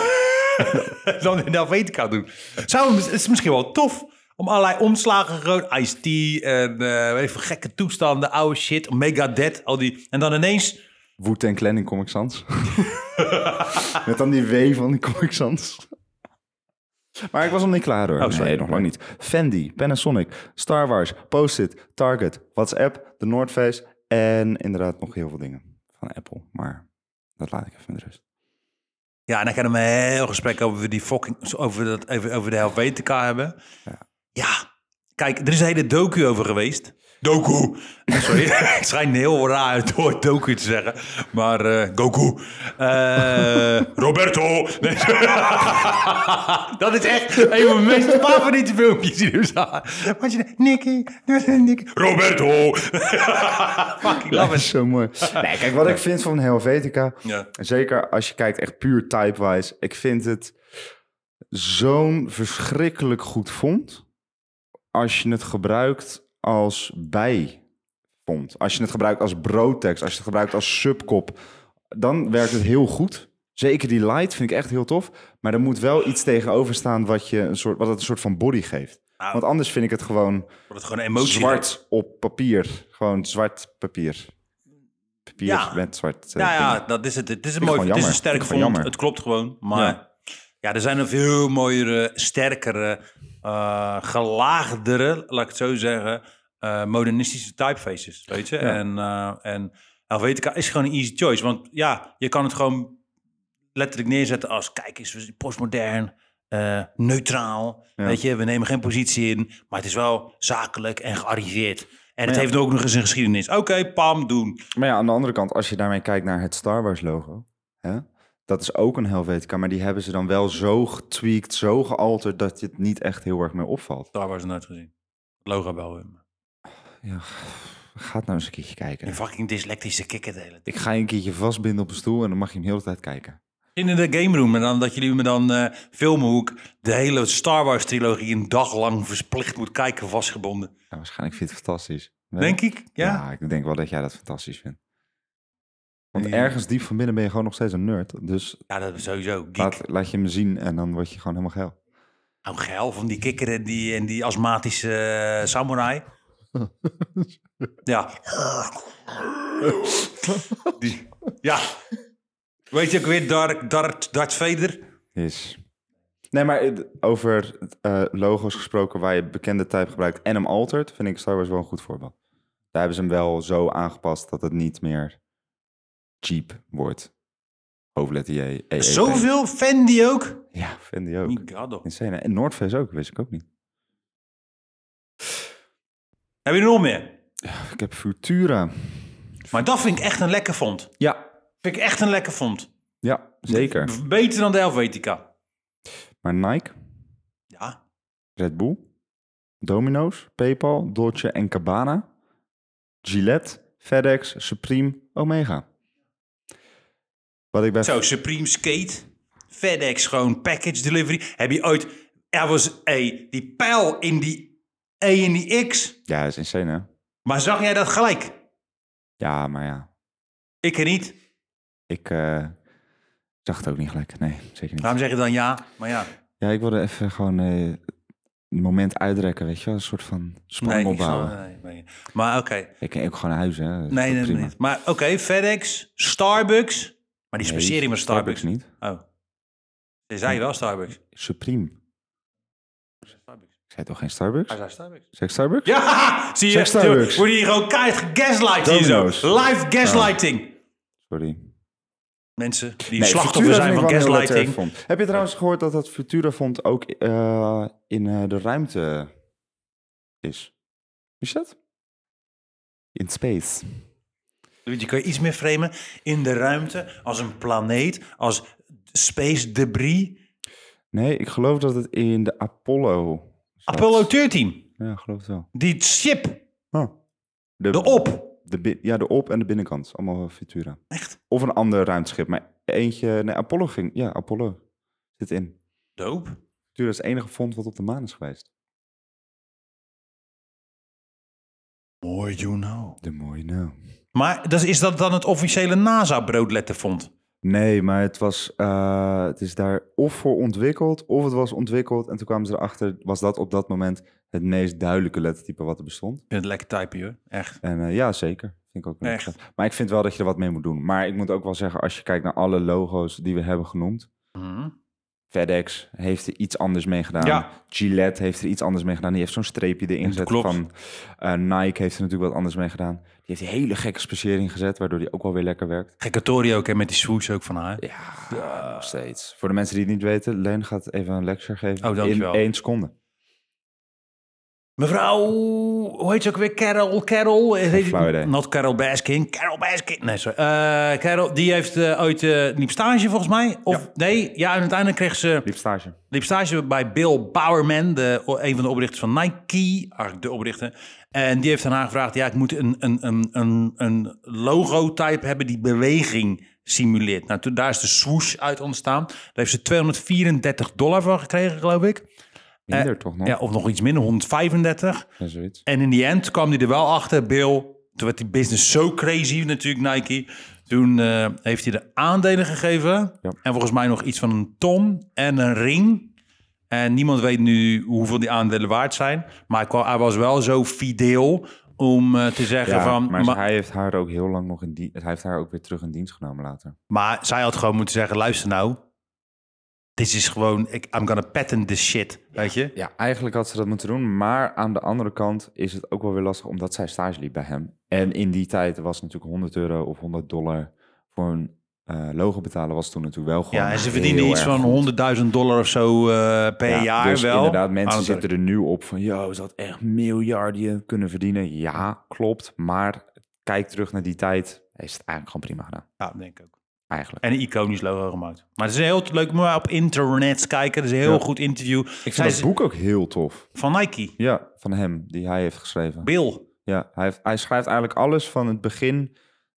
[SPEAKER 1] dan in Helvetica doen. Zou, het is misschien wel tof om allerlei omslagen, gewoon Ice-T en eh, weet ik veel, gekke toestanden, oude shit, Megadeth, al die... En dan ineens...
[SPEAKER 2] Wu-Tang Clan in Comic Sans. met dan die W van de Comic Sans. Maar ik was nog niet klaar hoor.
[SPEAKER 1] Oh, sorry.
[SPEAKER 2] nee, nog lang niet. Fendi, Panasonic, Star Wars, Post-it, Target, WhatsApp, de North Face en inderdaad nog heel veel dingen van Apple. Maar dat laat ik even met rust.
[SPEAKER 1] Ja, en dan gaan we een heel gesprek over die fucking... Over, dat, over, over de Helvetica hebben. Ja. Kijk, er is een hele docu over geweest. Doku. Sorry, het schijnt heel raar het woord docu te zeggen. Maar eh, Goku. Eh, Roberto. Nee. dat is echt een van mijn meest favoriete filmpjes die er staan. Want je Nicky, Nicky. Roberto. Fucking love it.
[SPEAKER 2] Zo mooi. Nee, kijk, wat ik vind van Helvetica,
[SPEAKER 1] Ja.
[SPEAKER 2] zeker als je kijkt echt puur typewise, ik vind het zo'n verschrikkelijk goed font als je het gebruikt als bijfont. Als je het gebruikt als broodtekst, als je het gebruikt als subkop, dan werkt het heel goed. Zeker die light vind ik echt heel tof. Maar er moet wel iets tegenover staan wat, je een soort, wat het een soort van body geeft.
[SPEAKER 1] Ah.
[SPEAKER 2] Want anders vind ik het gewoon
[SPEAKER 1] Wordt het gewoon emotie.
[SPEAKER 2] zwart op papier. Gewoon zwart papier. Papier
[SPEAKER 1] Ja.
[SPEAKER 2] met zwart. eh,
[SPEAKER 1] Ja, Nou ja,
[SPEAKER 2] dingen.
[SPEAKER 1] dat is het. Het is een
[SPEAKER 2] Vind ik
[SPEAKER 1] mooi,
[SPEAKER 2] gewoon
[SPEAKER 1] het is een
[SPEAKER 2] jammer.
[SPEAKER 1] sterk
[SPEAKER 2] Vind ik gewoon
[SPEAKER 1] font.
[SPEAKER 2] jammer.
[SPEAKER 1] Het klopt gewoon. Maar ja,
[SPEAKER 2] Ja.
[SPEAKER 1] er zijn nog veel mooiere, sterkere, eh gelaagdere, laat ik het zo zeggen, eh, modernistische typefaces. Weet je? En, eh, en Helvetica is gewoon een easy choice. Want ja, je kan het gewoon letterlijk neerzetten als, kijk eens, we zijn postmodern. eh, neutraal.
[SPEAKER 2] Ja.
[SPEAKER 1] Weet je, we nemen geen positie in, maar het is wel zakelijk en gearriveerd. En het
[SPEAKER 2] ja.
[SPEAKER 1] heeft ook nog eens een geschiedenis. Oké, pam, doen.
[SPEAKER 2] Maar ja, aan de andere kant, als je daarmee kijkt naar het Star Wars logo, hè, dat is ook een Helvetica, maar die hebben ze dan wel zo getweakt, zo gealterd, dat je het niet echt heel erg meer opvalt.
[SPEAKER 1] Daar was het nooit gezien. Het logo wel. in.
[SPEAKER 2] Ja, ga het nou eens een keertje
[SPEAKER 1] Een
[SPEAKER 2] kijken.
[SPEAKER 1] fucking dyslectische kikker de hele tijd.
[SPEAKER 2] Ik ga je een keertje vastbinden op een stoel en dan mag je hem heel de tijd kijken.
[SPEAKER 1] In de game room. En dan dat jullie me dan eh, filmen hoe ik de hele Star Wars trilogie een dag lang verplicht moet kijken vastgebonden.
[SPEAKER 2] Ja, Nou, waarschijnlijk vind je het fantastisch. Nee?
[SPEAKER 1] Denk ik? Ja.
[SPEAKER 2] Ja, ik denk wel dat jij dat fantastisch vindt. Want
[SPEAKER 1] Ja.
[SPEAKER 2] ergens diep van binnen ben je gewoon nog steeds een nerd. Dus
[SPEAKER 1] Ja, dat is sowieso. Geek.
[SPEAKER 2] laat, laat je hem zien en dan word je gewoon helemaal geil.
[SPEAKER 1] Nou, geil van die kikker en die, en die astmatische eh, samurai. ja. die, ja. Weet je ook weer, Dark, Dark, Darth Vader?
[SPEAKER 2] Is. Nee, maar het- over eh, logo's gesproken waar je bekende type gebruikt en hem altert, vind ik Star Wars wel een goed voorbeeld. Daar hebben ze hem wel zo aangepast dat het niet meer cheap wordt. Hoofdletter J. E, E, T.
[SPEAKER 1] Zoveel fan die ook?
[SPEAKER 2] Ja, vind die ook.
[SPEAKER 1] Mijn god, hoor.
[SPEAKER 2] Insane. hè? En Noordface ook, wist ik ook niet.
[SPEAKER 1] Heb je er nog meer?
[SPEAKER 2] Ik heb Futura.
[SPEAKER 1] Maar dat vind ik echt een lekker vond.
[SPEAKER 2] Ja.
[SPEAKER 1] Vind ik echt een lekker vond.
[SPEAKER 2] Ja, zeker.
[SPEAKER 1] Beter dan de Helvetica.
[SPEAKER 2] Maar Nike,
[SPEAKER 1] Ja.
[SPEAKER 2] Red Bull, Domino's, Paypal, Dolce en Cabana, Gillette, FedEx, Supreme, Omega. Wat ik bij
[SPEAKER 1] Zo, Supreme Skate. FedEx gewoon package delivery. Heb je ooit... Er was, hey, die pijl in die E en die X...
[SPEAKER 2] Ja, dat is insane, hè?
[SPEAKER 1] Maar zag jij dat gelijk?
[SPEAKER 2] Ja, maar ja.
[SPEAKER 1] Ik er niet.
[SPEAKER 2] Ik eh, zag het ook niet gelijk. Nee, zeker niet.
[SPEAKER 1] Waarom zeg je dan ja? Maar ja,
[SPEAKER 2] Ja, ik wilde even gewoon eh, een moment uitrekken, weet je wel? Een soort van spanning
[SPEAKER 1] ik snap-
[SPEAKER 2] opbouwen.
[SPEAKER 1] nee, nee. Maar oké.
[SPEAKER 2] Ik ken ook gewoon naar huis, hè? Dat is
[SPEAKER 1] Nee,
[SPEAKER 2] wel
[SPEAKER 1] nee,
[SPEAKER 2] prima.
[SPEAKER 1] nee. Maar oké, FedEx, Starbucks. Maar die
[SPEAKER 2] Nee,
[SPEAKER 1] speciering was Starbucks.
[SPEAKER 2] niet.
[SPEAKER 1] Oh. Ze zei wel Starbucks.
[SPEAKER 2] Supreme. Ik zei toch geen Starbucks?
[SPEAKER 1] Hij zei Starbucks.
[SPEAKER 2] Zeg ik Starbucks?
[SPEAKER 1] Ja, zie je?
[SPEAKER 2] Zeg Starbucks.
[SPEAKER 1] Word je hier gewoon keihard gaslight hier zo.
[SPEAKER 2] Domino's.
[SPEAKER 1] Live gaslighting.
[SPEAKER 2] Sorry.
[SPEAKER 1] Mensen die
[SPEAKER 2] Nee,
[SPEAKER 1] slachtoffer
[SPEAKER 2] Futura
[SPEAKER 1] zijn
[SPEAKER 2] vind
[SPEAKER 1] van
[SPEAKER 2] ik wel een heel leuk
[SPEAKER 1] gaslighting.
[SPEAKER 2] term. Heb je trouwens gehoord dat dat Futurafond ook eh, in eh, de ruimte is? Is dat? In space.
[SPEAKER 1] Luigi, kun je iets meer framen? In de ruimte, als een planeet, als space debris.
[SPEAKER 2] Nee, ik geloof dat het in de Apollo. zat.
[SPEAKER 1] Apollo 13,
[SPEAKER 2] Ja, ik geloof het wel.
[SPEAKER 1] die chip,
[SPEAKER 2] Huh. De,
[SPEAKER 1] de op.
[SPEAKER 2] de bi- ja, de op en de binnenkant. Allemaal Futura.
[SPEAKER 1] Echt?
[SPEAKER 2] Of een ander ruimteschip. Maar eentje. Nee, Apollo ging. Ja, Apollo zit in.
[SPEAKER 1] Doop.
[SPEAKER 2] Futura is het enige vond wat op de maan is geweest.
[SPEAKER 1] Mooi, you know.
[SPEAKER 2] De mooie nou.
[SPEAKER 1] Maar dus is dat dan het officiële NASA-broodletterfond?
[SPEAKER 2] Nee, maar het, was, eh, het is daar of voor ontwikkeld, of het was ontwikkeld. En toen kwamen ze erachter, was dat op dat moment het meest duidelijke lettertype wat er bestond.
[SPEAKER 1] Ik vind het lekker typen, hoor. Echt.
[SPEAKER 2] En eh, ja, zeker. Vind ik ook wel
[SPEAKER 1] Echt.
[SPEAKER 2] interessant. Maar ik vind wel dat je er wat mee moet doen. Maar ik moet ook wel zeggen, als je kijkt naar alle logo's die we hebben genoemd. FedEx heeft er iets anders mee gedaan.
[SPEAKER 1] Ja.
[SPEAKER 2] Gillette heeft er iets anders mee gedaan. Die heeft zo'n streepje erin gezet.
[SPEAKER 1] klopt.
[SPEAKER 2] Van, eh, Nike heeft er natuurlijk wat anders mee gedaan. Die heeft een hele gekke speciering gezet, waardoor die ook wel weer lekker werkt.
[SPEAKER 1] Gekke Tori ook, hè, met die swoosh ook van haar.
[SPEAKER 2] Ja, nog steeds. Voor de mensen die het niet weten, Leen gaat even een lecture geven.
[SPEAKER 1] Oh,
[SPEAKER 2] in
[SPEAKER 1] dankjewel.
[SPEAKER 2] één seconde.
[SPEAKER 1] Mevrouw, hoe heet ze ook weer? Carol, Carol. eh, heet-
[SPEAKER 2] flauw idee.
[SPEAKER 1] Not Carol Baskin. Carol Baskin. Nee, sorry. Eh, Carol, die heeft eh, ooit eh liep stage volgens mij. Of nee, ja, en uiteindelijk kreeg ze
[SPEAKER 2] Liep stage.
[SPEAKER 1] liep stage bij Bill Bowerman, de, een van de oprichters van Nike, eigenlijk de oprichter. En die heeft aan haar gevraagd, ja, ik moet een, een, een, een, een logotype hebben die beweging simuleert. Nou, toen, daar is de swoosh uit ontstaan. Daar heeft ze 234 dollar voor gekregen, geloof ik. Eh,
[SPEAKER 2] Minder toch nog?
[SPEAKER 1] Ja, of nog iets minder, 135.
[SPEAKER 2] Ja, zoiets.
[SPEAKER 1] En in die end kwam hij er wel achter, Bill. Toen werd die business zo crazy natuurlijk, Nike. Toen eh, heeft hij de aandelen gegeven.
[SPEAKER 2] Ja.
[SPEAKER 1] En volgens mij nog iets van een ton en een ring. En niemand weet nu hoeveel die aandelen waard zijn. Maar hij, kwam- hij was wel zo fideel om eh, te zeggen
[SPEAKER 2] Ja,
[SPEAKER 1] van...
[SPEAKER 2] maar
[SPEAKER 1] ma-
[SPEAKER 2] hij heeft haar ook heel lang nog in dienst. Hij heeft haar ook weer terug in dienst genomen later.
[SPEAKER 1] Maar zij had gewoon moeten zeggen, luister nou. Dit is gewoon, ik, I'm gonna patent this shit, weet je?
[SPEAKER 2] Ja, eigenlijk had ze dat moeten doen. Maar aan de andere kant is het ook wel weer lastig omdat zij stage liep bij hem. En in die tijd was natuurlijk 100 euro of 100 dollar voor een eh, logo betalen was toen natuurlijk wel gewoon
[SPEAKER 1] Ja, en ze
[SPEAKER 2] heel
[SPEAKER 1] verdienen iets van
[SPEAKER 2] erg goed.
[SPEAKER 1] 100.000 dollar of zo eh, per
[SPEAKER 2] Ja,
[SPEAKER 1] jaar
[SPEAKER 2] dus
[SPEAKER 1] wel.
[SPEAKER 2] inderdaad,
[SPEAKER 1] Maar
[SPEAKER 2] mensen
[SPEAKER 1] dat-
[SPEAKER 2] zitten er nu op van... Yo, is dat echt miljarden kunnen verdienen? Ja, klopt. Maar kijk terug naar die tijd. Is het eigenlijk gewoon prima gedaan.
[SPEAKER 1] Ja, dat denk ik ook.
[SPEAKER 2] Eigenlijk.
[SPEAKER 1] En een iconisch logo gemaakt. Maar het is heel leuk, maar op internet kijken. Het is een heel
[SPEAKER 2] Ja.
[SPEAKER 1] goed interview.
[SPEAKER 2] Ik
[SPEAKER 1] Zij
[SPEAKER 2] vind
[SPEAKER 1] is-
[SPEAKER 2] dat boek ook heel tof.
[SPEAKER 1] Van Nike.
[SPEAKER 2] Ja, van hem, die hij heeft geschreven.
[SPEAKER 1] Bill.
[SPEAKER 2] Ja, hij, heeft, hij schrijft eigenlijk alles van het begin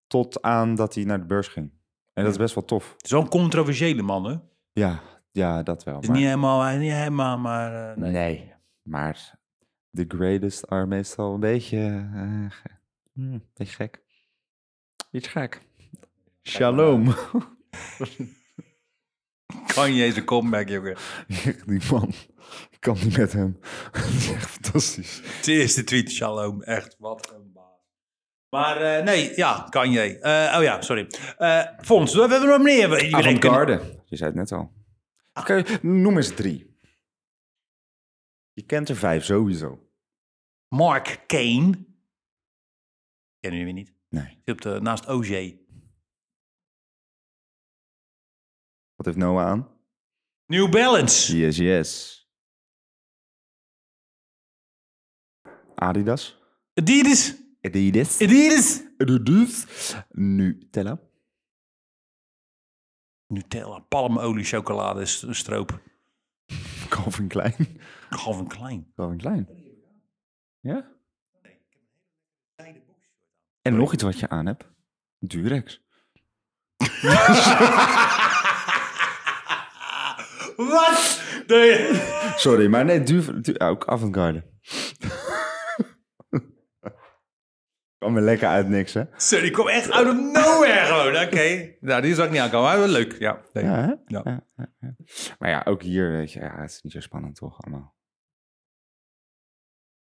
[SPEAKER 2] tot aan dat hij naar de beurs ging. En dat is best wel tof.
[SPEAKER 1] Zo'n controversiële man, hè?
[SPEAKER 2] Ja, ja dat wel.
[SPEAKER 1] Is
[SPEAKER 2] maar-
[SPEAKER 1] niet helemaal, hij is niet helemaal, maar... eh, nee.
[SPEAKER 2] Nee, maar de greatest are meestal een beetje, eh, ge- hmm, een beetje gek. Iets gek. Shalom.
[SPEAKER 1] Kan je eens een comeback, jongen.
[SPEAKER 2] Die man, ik kan niet met hem. Dat is echt fantastisch.
[SPEAKER 1] Het eerste tweet, shalom. Echt, wat een baas. Maar eh, nee, ja, kan je. Eh, oh ja, sorry. Eh Fons, we hebben er nog meer. Je denkt-
[SPEAKER 2] Avantgarde, je zei het net al. Oké, noem eens drie. Je kent er vijf sowieso.
[SPEAKER 1] Mark Kane. Kennen jullie niet?
[SPEAKER 2] Nee.
[SPEAKER 1] Zit op de, naast OJ.
[SPEAKER 2] Wat heeft Noah aan?
[SPEAKER 1] New Balance.
[SPEAKER 2] Yes, yes. Adidas.
[SPEAKER 1] Adidas.
[SPEAKER 2] Adidas.
[SPEAKER 1] Adidas.
[SPEAKER 2] Dus nu tellen.
[SPEAKER 1] Nutella, palmolie, chocolade, s- stroop.
[SPEAKER 2] Calvin Klein.
[SPEAKER 1] Calvin Klein.
[SPEAKER 2] Calvin Klein. Ja? En nog iets wat je aan hebt. Durex.
[SPEAKER 1] Wat? Nee.
[SPEAKER 2] Sorry, maar nee, du, du- ook avant-garde. Kwam me lekker uit niks, hè?
[SPEAKER 1] Sorry, die kwam echt out of nowhere gewoon. Oké. Nou, die zou ik niet aankomen. Maar wel leuk. Ja. nee.
[SPEAKER 2] Ja, hè?
[SPEAKER 1] Ja.
[SPEAKER 2] Ja, ja, ja. Maar ja, ook hier, weet je, ja, het is niet zo spannend toch allemaal.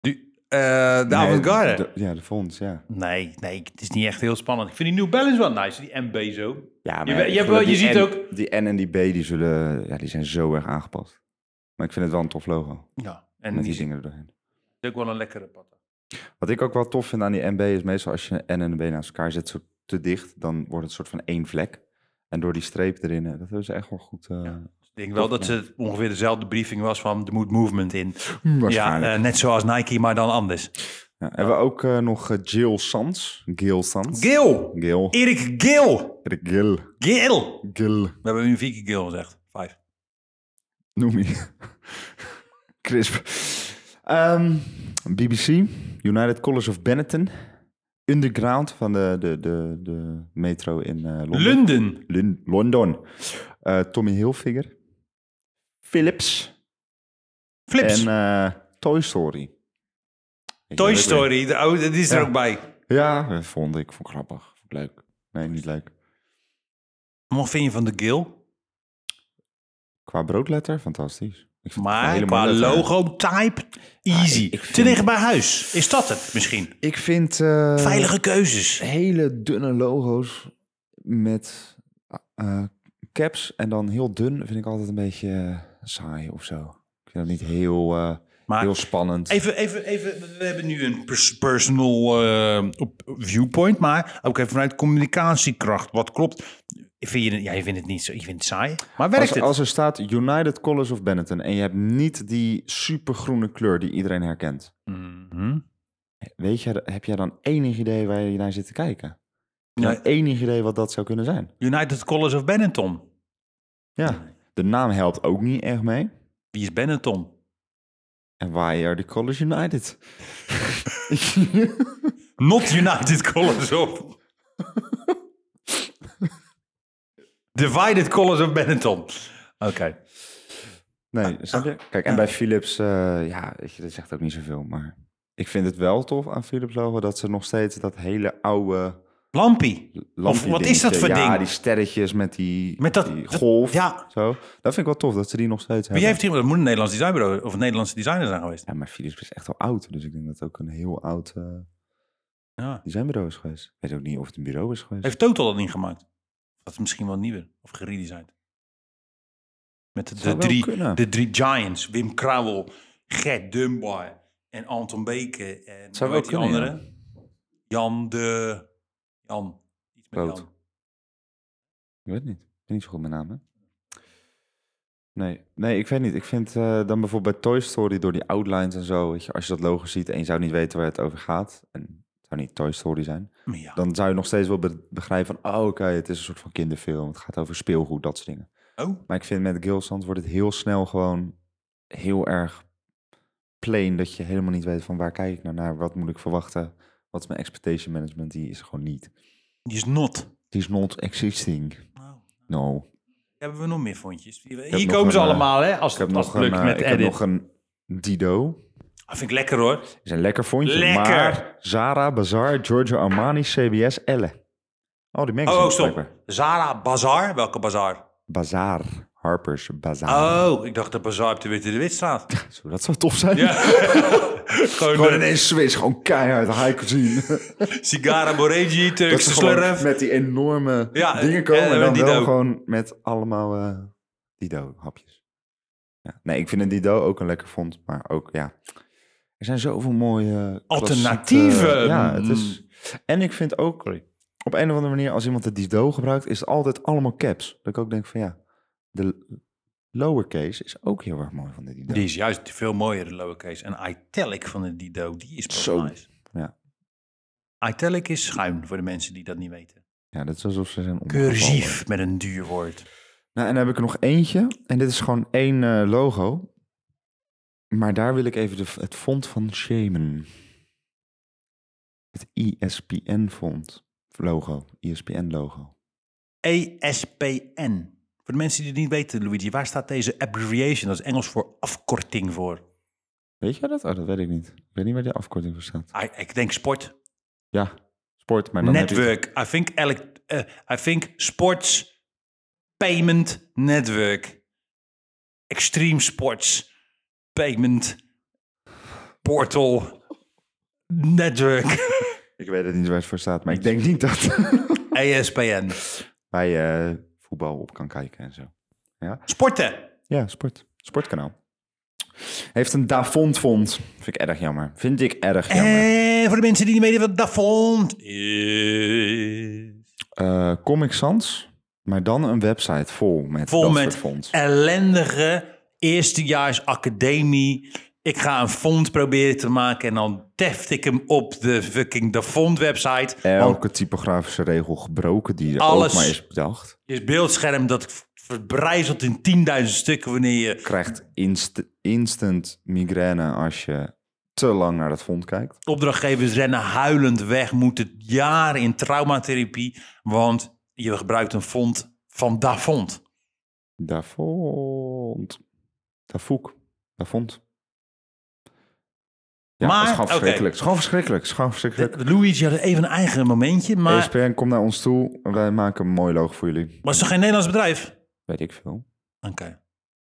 [SPEAKER 1] Die, eh, de
[SPEAKER 2] Nee,
[SPEAKER 1] avant-garde.
[SPEAKER 2] de- Ja, de fonds, ja.
[SPEAKER 1] Nee, nee, het is niet echt heel spannend. Ik vind die New Balance wel nice, die MB zo.
[SPEAKER 2] Ja, maar
[SPEAKER 1] Je weet- je
[SPEAKER 2] ik
[SPEAKER 1] hebt
[SPEAKER 2] geloof
[SPEAKER 1] wel- je
[SPEAKER 2] die
[SPEAKER 1] ziet
[SPEAKER 2] N-
[SPEAKER 1] ook-
[SPEAKER 2] Die N en die B die zullen, ja, die zijn zo erg aangepast. Maar ik vind het wel een tof logo.
[SPEAKER 1] Ja. En
[SPEAKER 2] Met
[SPEAKER 1] die,
[SPEAKER 2] die
[SPEAKER 1] is
[SPEAKER 2] dingen er doorheen.
[SPEAKER 1] ook wel een lekkere patta.
[SPEAKER 2] Wat ik ook wel tof vind aan die NB is meestal als je een N en een B naast elkaar zet zo te dicht, dan wordt het een soort van één vlek. En door die streep erin, eh, dat hebben ze echt wel goed. eh,
[SPEAKER 1] Ik denk wel dat het ongeveer dezelfde briefing was van er moet movement in. Ja,
[SPEAKER 2] Hmm, waarschijnlijk.
[SPEAKER 1] eh, net zoals Nike, maar dan anders.
[SPEAKER 2] Ja, Hebben we ook eh, nog eh, Jill Sans? Gil Sans?
[SPEAKER 1] Gil!
[SPEAKER 2] Gil.
[SPEAKER 1] Erik Gil!
[SPEAKER 2] Gil.
[SPEAKER 1] Gil!
[SPEAKER 2] Gil.
[SPEAKER 1] We hebben nu vier keer Gil gezegd. Vijf.
[SPEAKER 2] Noem je. Crisp. Ehm, BBC, United College of Benetton. Underground van de, de, de, de metro in eh, Londen.
[SPEAKER 1] London.
[SPEAKER 2] Lin- London. Eh, Tommy Hilfiger. Philips.
[SPEAKER 1] Flips.
[SPEAKER 2] En eh, Toy Story. Ik
[SPEAKER 1] Toy
[SPEAKER 2] weet het weer.
[SPEAKER 1] Story, de oude, die is er
[SPEAKER 2] Ja.
[SPEAKER 1] ook bij.
[SPEAKER 2] Ja, eh, vond ik. Vond ik grappig. Vond ik leuk. Nee, niet leuk.
[SPEAKER 1] Wat vind je van de Gil?
[SPEAKER 2] Qua broodletter, fantastisch. Ik vind het een
[SPEAKER 1] Maar
[SPEAKER 2] hele
[SPEAKER 1] qua
[SPEAKER 2] mooie letter.
[SPEAKER 1] logo-type, easy.
[SPEAKER 2] Ah, ik- ik
[SPEAKER 1] Te
[SPEAKER 2] vind-
[SPEAKER 1] liggen bij huis. Is dat het misschien?
[SPEAKER 2] Ik vind... eh,
[SPEAKER 1] Veilige keuzes.
[SPEAKER 2] hele dunne logo's met eh, caps en dan heel dun vind ik altijd een beetje eh, saai of zo. Ik vind dat niet heel, eh,
[SPEAKER 1] Maar
[SPEAKER 2] heel spannend.
[SPEAKER 1] Even, even, even, we hebben nu een pers- personal eh, op- viewpoint, maar ook even vanuit communicatiekracht. Wat klopt? Vind je, het- ja, je vindt het niet zo, je vindt het saai, maar werkt
[SPEAKER 2] Als,
[SPEAKER 1] het?
[SPEAKER 2] als er staat United College of Benetton en je hebt niet die supergroene kleur die iedereen herkent.
[SPEAKER 1] Mhm.
[SPEAKER 2] Weet je, heb jij dan enig idee waar je naar zit te kijken? Heb je
[SPEAKER 1] Nee.
[SPEAKER 2] dan enig idee wat dat zou kunnen zijn?
[SPEAKER 1] United College of Benetton.
[SPEAKER 2] Ja, de naam helpt ook niet echt mee.
[SPEAKER 1] Wie is Benetton?
[SPEAKER 2] En why are the College United?
[SPEAKER 1] Not United College of... Divided College of Benetton. Oké.
[SPEAKER 2] Nee, snap je? Kijk, en bij Philips, eh, ja, weet je, dat zegt ook niet zoveel. Maar ik vind het wel tof aan Philips logo dat ze nog steeds dat hele oude
[SPEAKER 1] Lampie.
[SPEAKER 2] lampje
[SPEAKER 1] wat is dat
[SPEAKER 2] dingetje-
[SPEAKER 1] voor
[SPEAKER 2] Ja,
[SPEAKER 1] ding?
[SPEAKER 2] die sterretjes met die,
[SPEAKER 1] Met dat-
[SPEAKER 2] die
[SPEAKER 1] dat-
[SPEAKER 2] golf.
[SPEAKER 1] ja.
[SPEAKER 2] Zo. Dat vind ik wel tof dat ze die nog steeds
[SPEAKER 1] Wie
[SPEAKER 2] hebben.
[SPEAKER 1] heeft hier... Dat moet een Nederlands designbureau of een Nederlandse designer zijn geweest.
[SPEAKER 2] Ja, maar Philips is echt al oud. Dus ik denk dat het ook een heel oud eh
[SPEAKER 1] Ja.
[SPEAKER 2] designbureau is geweest. Ik weet ook niet of het een bureau is geweest.
[SPEAKER 1] Heeft Total dat niet gemaakt? Dat is misschien wel nieuwer of geredesigned. Met de,
[SPEAKER 2] Zou wel
[SPEAKER 1] drie,
[SPEAKER 2] kunnen.
[SPEAKER 1] de drie Giants: Wim Krauwel, Gert Dunbar en Anton Beke. En
[SPEAKER 2] Zou
[SPEAKER 1] hoe
[SPEAKER 2] wel
[SPEAKER 1] heet die
[SPEAKER 2] kunnen,
[SPEAKER 1] andere? Jan de. Jan. Iets met
[SPEAKER 2] Boot.
[SPEAKER 1] Jan.
[SPEAKER 2] Ik weet het niet. Ik ben niet zo goed met namen. Nee, nee, ik weet niet. Ik vind eh, dan bijvoorbeeld bij Toy Story door die outlines en zo, weet je, als je dat logo ziet en je zou niet weten waar het over gaat, en het zou niet Toy Story zijn,
[SPEAKER 1] Maar ja.
[SPEAKER 2] dan zou je nog steeds wel be- begrijpen van, oh oké, het is een soort van kinderfilm, het gaat over speelgoed, dat soort dingen.
[SPEAKER 1] Oh,
[SPEAKER 2] Maar ik vind met Gilsand wordt het heel snel gewoon heel erg plain, dat je helemaal niet weet van waar kijk ik nou naar, wat moet ik verwachten, wat is mijn expectation management, die is er gewoon niet.
[SPEAKER 1] die is not.
[SPEAKER 2] Die is not existing.
[SPEAKER 1] Nou,
[SPEAKER 2] No.
[SPEAKER 1] hebben we nog meer vondjes? Hier
[SPEAKER 2] heb nog
[SPEAKER 1] komen ze
[SPEAKER 2] een, eh,
[SPEAKER 1] allemaal, hè? Als
[SPEAKER 2] Ik heb
[SPEAKER 1] het, als
[SPEAKER 2] nog
[SPEAKER 1] het
[SPEAKER 2] een,
[SPEAKER 1] lukt
[SPEAKER 2] eh,
[SPEAKER 1] met
[SPEAKER 2] ik heb
[SPEAKER 1] edit.
[SPEAKER 2] nog een Dido.
[SPEAKER 1] Ah, vind ik lekker, hoor.
[SPEAKER 2] is een lekker vondje.
[SPEAKER 1] Lekker!
[SPEAKER 2] Maar Zara, Bazaar, Giorgio Armani, CBS, Elle. Oh, die
[SPEAKER 1] Oh,
[SPEAKER 2] magazine.
[SPEAKER 1] oh, stop. Zara Bazaar? Welke bazaar?
[SPEAKER 2] Bazaar. Harper's Bazaar.
[SPEAKER 1] Oh, ik dacht dat Bazaar op de Witte de Wit staat.
[SPEAKER 2] Zo, dat zou tof zijn.
[SPEAKER 1] Ja.
[SPEAKER 2] Gewoon
[SPEAKER 1] Gewoon de
[SPEAKER 2] ineens Zweeds, gewoon keihard high cuisine.
[SPEAKER 1] Sigara Boregi,
[SPEAKER 2] dat
[SPEAKER 1] Turkse
[SPEAKER 2] ze gewoon
[SPEAKER 1] slurf.
[SPEAKER 2] met die enorme
[SPEAKER 1] Ja,
[SPEAKER 2] dingen komen.
[SPEAKER 1] eh,
[SPEAKER 2] en dan
[SPEAKER 1] met
[SPEAKER 2] wel
[SPEAKER 1] Dido.
[SPEAKER 2] gewoon met allemaal eh, Dido-hapjes. Ja. Nee, ik vind een Dido ook een lekker vond. Maar ook, ja... Er zijn zoveel mooie... klassieke-
[SPEAKER 1] Alternatieven. Mm.
[SPEAKER 2] ja, het is... En ik vind ook... Op een of andere manier, als iemand het Dido gebruikt... is het altijd allemaal caps. Dat ik ook denk van, ja... De lowercase is ook heel erg mooi van de Dido.
[SPEAKER 1] Die is juist veel mooier, de lowercase. En italic van de Dido, die is pas
[SPEAKER 2] Zo,
[SPEAKER 1] nice.
[SPEAKER 2] ja.
[SPEAKER 1] Italic is schuin, voor de mensen die dat niet weten.
[SPEAKER 2] Ja, dat is alsof ze zijn omgevallen.
[SPEAKER 1] Cursief, met een duur woord.
[SPEAKER 2] Nou, en dan heb ik er nog eentje. En dit is gewoon één eh, logo. Maar daar wil ik even de, het font van shamen. Het ISPN-font. Logo. ISPN-logo.
[SPEAKER 1] E ESPN. Voor de mensen die het niet weten, Luigi, waar staat deze abbreviation? Dat is Engels voor afkorting voor.
[SPEAKER 2] Weet jij dat? Oh, dat weet ik niet. Ik weet niet waar die afkorting voor staat.
[SPEAKER 1] I- Ah, ik denk sport.
[SPEAKER 2] Ja, sport. Maar dan heb je-
[SPEAKER 1] Network. I think, elec- eh, I think sports payment network. Extreme sports payment portal network.
[SPEAKER 2] ik weet het niet waar het voor staat. Maar ik denk niet dat
[SPEAKER 1] E ESPN.
[SPEAKER 2] wij eh, voetbal op kan kijken en zo.
[SPEAKER 1] Sporten.
[SPEAKER 2] Ja, sport. Sportkanaal. Heeft een Davont-font. Vind ik erg jammer. Vind ik erg jammer.
[SPEAKER 1] En voor de mensen die niet weten wat dat vond. Is...
[SPEAKER 2] eh Comic Sans, maar dan een website vol met
[SPEAKER 1] Vol
[SPEAKER 2] dat
[SPEAKER 1] met
[SPEAKER 2] soort fonds.
[SPEAKER 1] ellendige eerstejaars academie. Ik ga een font proberen te maken en dan teft ik hem op de fucking de font website. Want
[SPEAKER 2] Elke typografische regel gebroken die er
[SPEAKER 1] Alles.
[SPEAKER 2] ook maar is bedacht,
[SPEAKER 1] Je beeldscherm dat v- verbrijzelt in 10.000 stukken wanneer je...
[SPEAKER 2] krijgt inst- instant migraine als je te lang naar dat fond kijkt.
[SPEAKER 1] Opdrachtgevers rennen huilend weg, moeten jaren in traumatherapie, want je gebruikt een font van Dafont.
[SPEAKER 2] Davont. Davoek. Davont. Ja,
[SPEAKER 1] Maar,
[SPEAKER 2] het is gewoon
[SPEAKER 1] oké.
[SPEAKER 2] verschrikkelijk. Het is gewoon verschrikkelijk. Het is gewoon verschrikkelijk. E
[SPEAKER 1] Luigi had even een eigen momentje, maar...
[SPEAKER 2] ESPN, kom naar ons toe. Wij maken een mooi logo voor jullie.
[SPEAKER 1] Was toch geen Nederlands bedrijf? Oké.
[SPEAKER 2] Weet ik veel.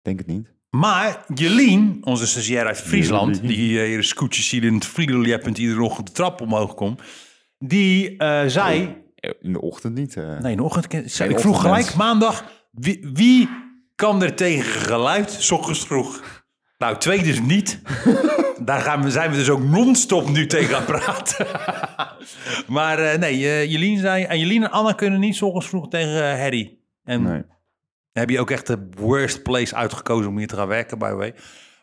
[SPEAKER 2] Denk het niet.
[SPEAKER 1] Maar Jelien, onze stagiair uit Friesland,
[SPEAKER 2] Jelien.
[SPEAKER 1] die eh, hier een scootje ziet in het Friedeljeppend iedere ochtend de trap omhoog komt, die eh, zei...
[SPEAKER 2] In de ochtend niet. eh.
[SPEAKER 1] Nee, in de ochtend. Ik
[SPEAKER 2] ochtendmens.
[SPEAKER 1] vroeg gelijk maandag. Wie, wie kan er tegen geluid? 's ochtends vroeg. Nou, twee dus niet. Daar gaan we, zijn we dus ook non-stop nu tegen aan het praten. maar eh, nee, eh, Jelien zei. En Jelien en Anna kunnen niet 's ochtends vroeg tegen eh, Harry. En
[SPEAKER 2] nee.
[SPEAKER 1] heb je ook echt de worst place uitgekozen om hier te gaan werken, by the way.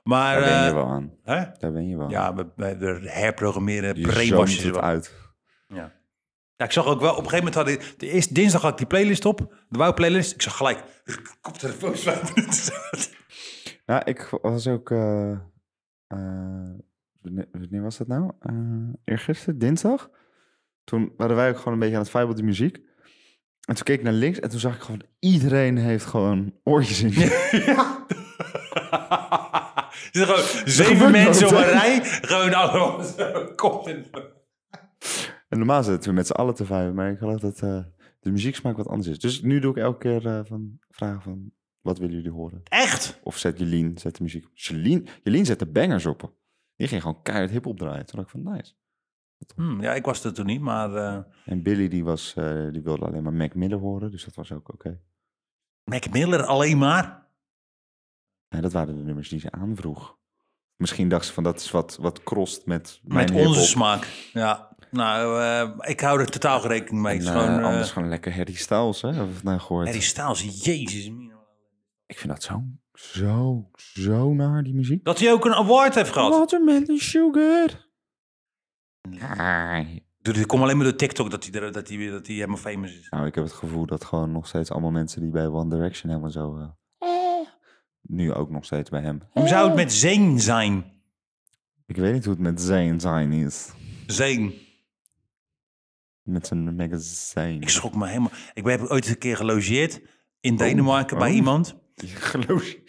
[SPEAKER 1] Maar.
[SPEAKER 2] Daar ben je
[SPEAKER 1] eh,
[SPEAKER 2] wel aan.
[SPEAKER 1] hè?
[SPEAKER 2] Daar ben je wel.
[SPEAKER 1] Ja, we, we, we herprogrammeren,
[SPEAKER 2] je zoomt
[SPEAKER 1] brainwashen ze
[SPEAKER 2] het
[SPEAKER 1] wel.
[SPEAKER 2] uit.
[SPEAKER 1] Ja. ja, ik zag ook wel, op een gegeven moment had ik, de eerste dinsdag had ik die playlist op, de WOW-playlist. Ik zag gelijk, koptelefoons vijf minuten.
[SPEAKER 2] Nou, ik was ook. eh, eh, wanneer, wanneer was dat nou? Eh eergisteren, dinsdag. Toen waren wij ook gewoon een beetje aan het vibe op de muziek. En toen keek ik naar links en toen zag ik gewoon... iedereen heeft gewoon oortjes in.
[SPEAKER 1] Ja. Er zitten gewoon
[SPEAKER 2] gebeurt
[SPEAKER 1] zeven mensen op
[SPEAKER 2] wat,
[SPEAKER 1] een
[SPEAKER 2] hè?
[SPEAKER 1] rij, gewoon allemaal zo, kop in.
[SPEAKER 2] En normaal zitten we met z'n allen te vibe. Maar ik geloof dat eh, de muzieksmaak wat anders is. Dus nu doe ik elke keer eh, van, vragen van... wat willen jullie horen?
[SPEAKER 1] Echt?
[SPEAKER 2] Of zet Jelien, zet de muziek op. Jelien, Jelien zet de bangers op. Die ging gewoon keihard hip-hop draaien. Toen dacht ik van, nice.
[SPEAKER 1] Hm, ja, ik was er toen niet, maar eh
[SPEAKER 2] En Billy die, was, eh, die wilde alleen maar Mac Miller horen, dus dat was ook oké.
[SPEAKER 1] Mac Miller alleen maar.
[SPEAKER 2] Nee, dat waren de nummers die ze aanvroeg. Misschien dacht ze van dat is wat, wat crossed met,
[SPEAKER 1] Met
[SPEAKER 2] mijn
[SPEAKER 1] onze
[SPEAKER 2] hiphop.
[SPEAKER 1] smaak. Ja. Nou, eh, ik hou er totaal geen rekening mee.
[SPEAKER 2] En,
[SPEAKER 1] Het is
[SPEAKER 2] eh,
[SPEAKER 1] gewoon, eh,
[SPEAKER 2] anders gewoon lekker Harry Styles, hè? Hebben we het nou gehoord.
[SPEAKER 1] Harry Styles, jezus. mina.
[SPEAKER 2] Ik vind dat zo, zo, zo naar, die muziek.
[SPEAKER 1] Dat hij ook een award heeft gehad.
[SPEAKER 2] Watermelon Sugar. Nee.
[SPEAKER 1] Doe- Dit komt alleen maar door TikTok dat hij, er- dat hij, dat hij helemaal famous is.
[SPEAKER 2] Nou, ik heb het gevoel dat gewoon nog steeds allemaal mensen die bij One Direction helemaal zo... eh, Nu ook nog steeds bij hem.
[SPEAKER 1] Hoe zou het met Zayn zijn?
[SPEAKER 2] Ik weet niet hoe het met zijn zijn is.
[SPEAKER 1] Zayn.
[SPEAKER 2] Met zijn magazine.
[SPEAKER 1] Ik schrok me helemaal. Ik heb ooit een keer gelogeerd in Denemarken bij
[SPEAKER 2] oh.
[SPEAKER 1] iemand.
[SPEAKER 2] Geloof je?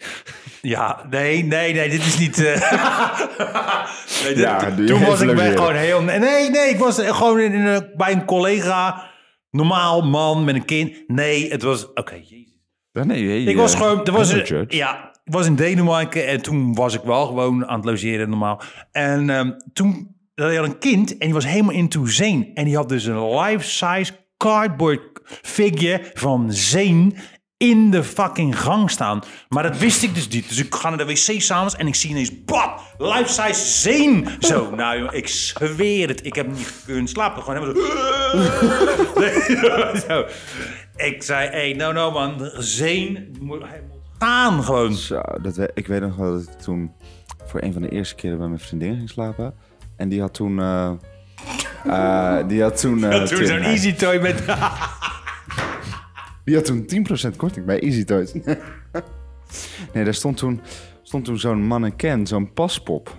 [SPEAKER 1] Ja, nee, nee, nee, dit is niet. eh. nee, dit-
[SPEAKER 2] Ja, die
[SPEAKER 1] toen was
[SPEAKER 2] heeft
[SPEAKER 1] ik bij
[SPEAKER 2] logeren.
[SPEAKER 1] gewoon heel. Nee, nee, ik was gewoon in, in een- bij een collega. Normaal man met een kind. Nee, het was. Oké, jezus.
[SPEAKER 2] Nee, nee,
[SPEAKER 1] Ik
[SPEAKER 2] eh,
[SPEAKER 1] was gewoon. Er was
[SPEAKER 2] I'm no
[SPEAKER 1] een-
[SPEAKER 2] judge.
[SPEAKER 1] ja, ik was in Denemarken en toen was ik wel gewoon aan het logeren normaal. En ehm, toen had hij had een kind en die was helemaal into Zane. En die had dus een life-size cardboard figure van Zane in de fucking gang staan. Maar dat wist ik dus niet. Dus ik ga naar de wc s'avonds en ik zie ineens... Bam! Life-size Zane! Zo, nou jongen, ik zweer het. Ik heb niet kunnen slapen. Gewoon helemaal zo... Nee, zo. Ik zei, hey, no, no man. Zane moet... Hij moet gaan gewoon.
[SPEAKER 2] Zo, dat we- ik weet nog wel dat ik toen voor een van de eerste keren bij mijn vriendin ging slapen. En die had toen. eh, eh, die had toen. eh,
[SPEAKER 1] Toen
[SPEAKER 2] Twitter.
[SPEAKER 1] zo'n easy toy met...
[SPEAKER 2] Die had toen 10% korting bij Easy Toys. nee, daar stond toen, stond toen zo'n mannequin, zo'n paspop.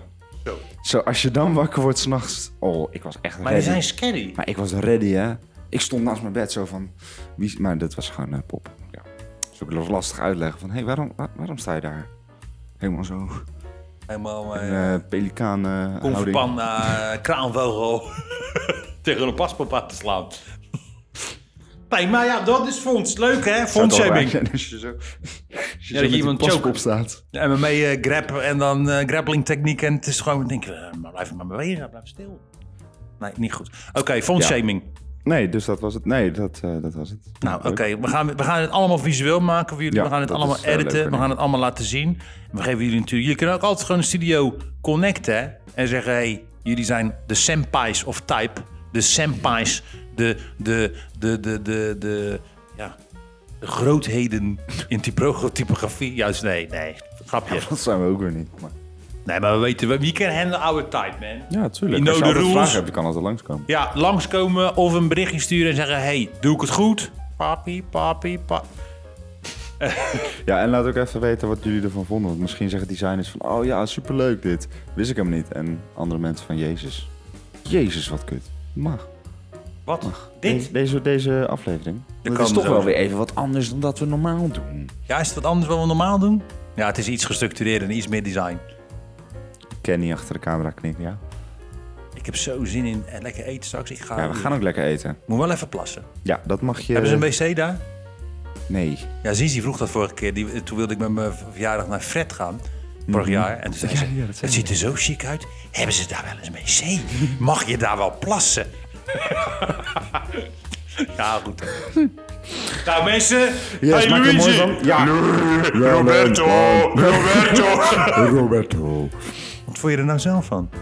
[SPEAKER 2] Zo, als je dan wakker wordt s'nachts. Oh, ik was echt
[SPEAKER 1] Maar die
[SPEAKER 2] ready.
[SPEAKER 1] zijn scary.
[SPEAKER 2] Maar ik was ready, hè? Ik stond naast mijn bed zo van. Wie... is- Maar dat was gewoon eh, pop. Ja. Dus ik was lastig uitleggen van: hé, hey, waarom, waar- waarom sta je daar? Helemaal zo.
[SPEAKER 1] Helemaal... eh,
[SPEAKER 2] eh pelikaan. eh, houding.
[SPEAKER 1] Konverpanda, eh, kraanvogel. Tegen een paspoort aan te slaan. Nee, maar ja, dat is fonds. Leuk hè,
[SPEAKER 2] Zou toch
[SPEAKER 1] fondshaming.
[SPEAKER 2] raar zijn Als je zo. Als je
[SPEAKER 1] dat je iemand chokt.
[SPEAKER 2] op staat.
[SPEAKER 1] MMA eh grab en dan eh, grappling techniek. En het is gewoon, denk je, eh, maar blijf maar bewegen, blijf stil. Nee, niet goed. Oké, fondshaming.
[SPEAKER 2] Nee, dus dat was het. Nee, dat, eh, dat was het.
[SPEAKER 1] Nou, oké, we, gaan, we gaan het allemaal visueel maken voor jullie.
[SPEAKER 2] Ja,
[SPEAKER 1] we gaan het
[SPEAKER 2] dat
[SPEAKER 1] allemaal
[SPEAKER 2] is, eh,
[SPEAKER 1] editen.
[SPEAKER 2] leuker,
[SPEAKER 1] we
[SPEAKER 2] ja.
[SPEAKER 1] gaan het allemaal laten zien. We geven jullie natuurlijk... Jullie kunnen ook altijd gewoon de studio connecten hè, en zeggen... hey, jullie zijn de senpais of type. De senpais, de, de, de, de, de, de, ja, de grootheden in typo- typografie. Juist, nee, nee, grapje.
[SPEAKER 2] Dat zijn we ook weer niet. Maar...
[SPEAKER 1] Nee, maar we weten... we- Wie kan handle our type, man?
[SPEAKER 2] Ja,
[SPEAKER 1] You
[SPEAKER 2] tuurlijk.
[SPEAKER 1] know
[SPEAKER 2] Als je
[SPEAKER 1] the
[SPEAKER 2] altijd
[SPEAKER 1] rules.
[SPEAKER 2] vragen hebt, je kan altijd langskomen.
[SPEAKER 1] Ja, langskomen of een berichtje sturen en zeggen... hey, doe ik het goed? Papi, papi, papi.
[SPEAKER 2] Ja, en laat ook even weten wat jullie ervan vonden. Want misschien zeggen designers van, oh ja, superleuk dit. Wist ik hem niet. En andere mensen van, jezus. Jezus, wat kut. Mag.
[SPEAKER 1] Wat?
[SPEAKER 2] Deze, deze, deze aflevering. Dat is
[SPEAKER 1] komen
[SPEAKER 2] toch
[SPEAKER 1] zo.
[SPEAKER 2] wel weer even wat anders dan dat we normaal doen.
[SPEAKER 1] Ja, is het wat anders wat we normaal doen? Ja, het is iets gestructureerder en iets meer design.
[SPEAKER 2] Kenny achter de camera knikken, ja.
[SPEAKER 1] Ik heb zo zin in eh, lekker eten straks. Ik ga,
[SPEAKER 2] Ja, we gaan ook lekker eten.
[SPEAKER 1] moet wel even plassen.
[SPEAKER 2] Ja, dat mag je...
[SPEAKER 1] Oh, Hebben ze een wc daar?
[SPEAKER 2] Nee.
[SPEAKER 1] Ja, Zizi vroeg dat vorige keer. Die, toen wilde ik met mijn verjaardag naar Fred gaan. Vorig jaar. En toen zei
[SPEAKER 2] Mhm. Ja,
[SPEAKER 1] ze,
[SPEAKER 2] ja, dat zei
[SPEAKER 1] het ziet er zo chic uit. Hebben ze daar wel eens een wc? Mag je daar wel plassen? ja, goed. nou mensen, hey
[SPEAKER 2] maak er mooi
[SPEAKER 1] Luigi.
[SPEAKER 2] van. Ja. Roberto. Roberto. Roberto.
[SPEAKER 1] Wat vond je er nou zelf van?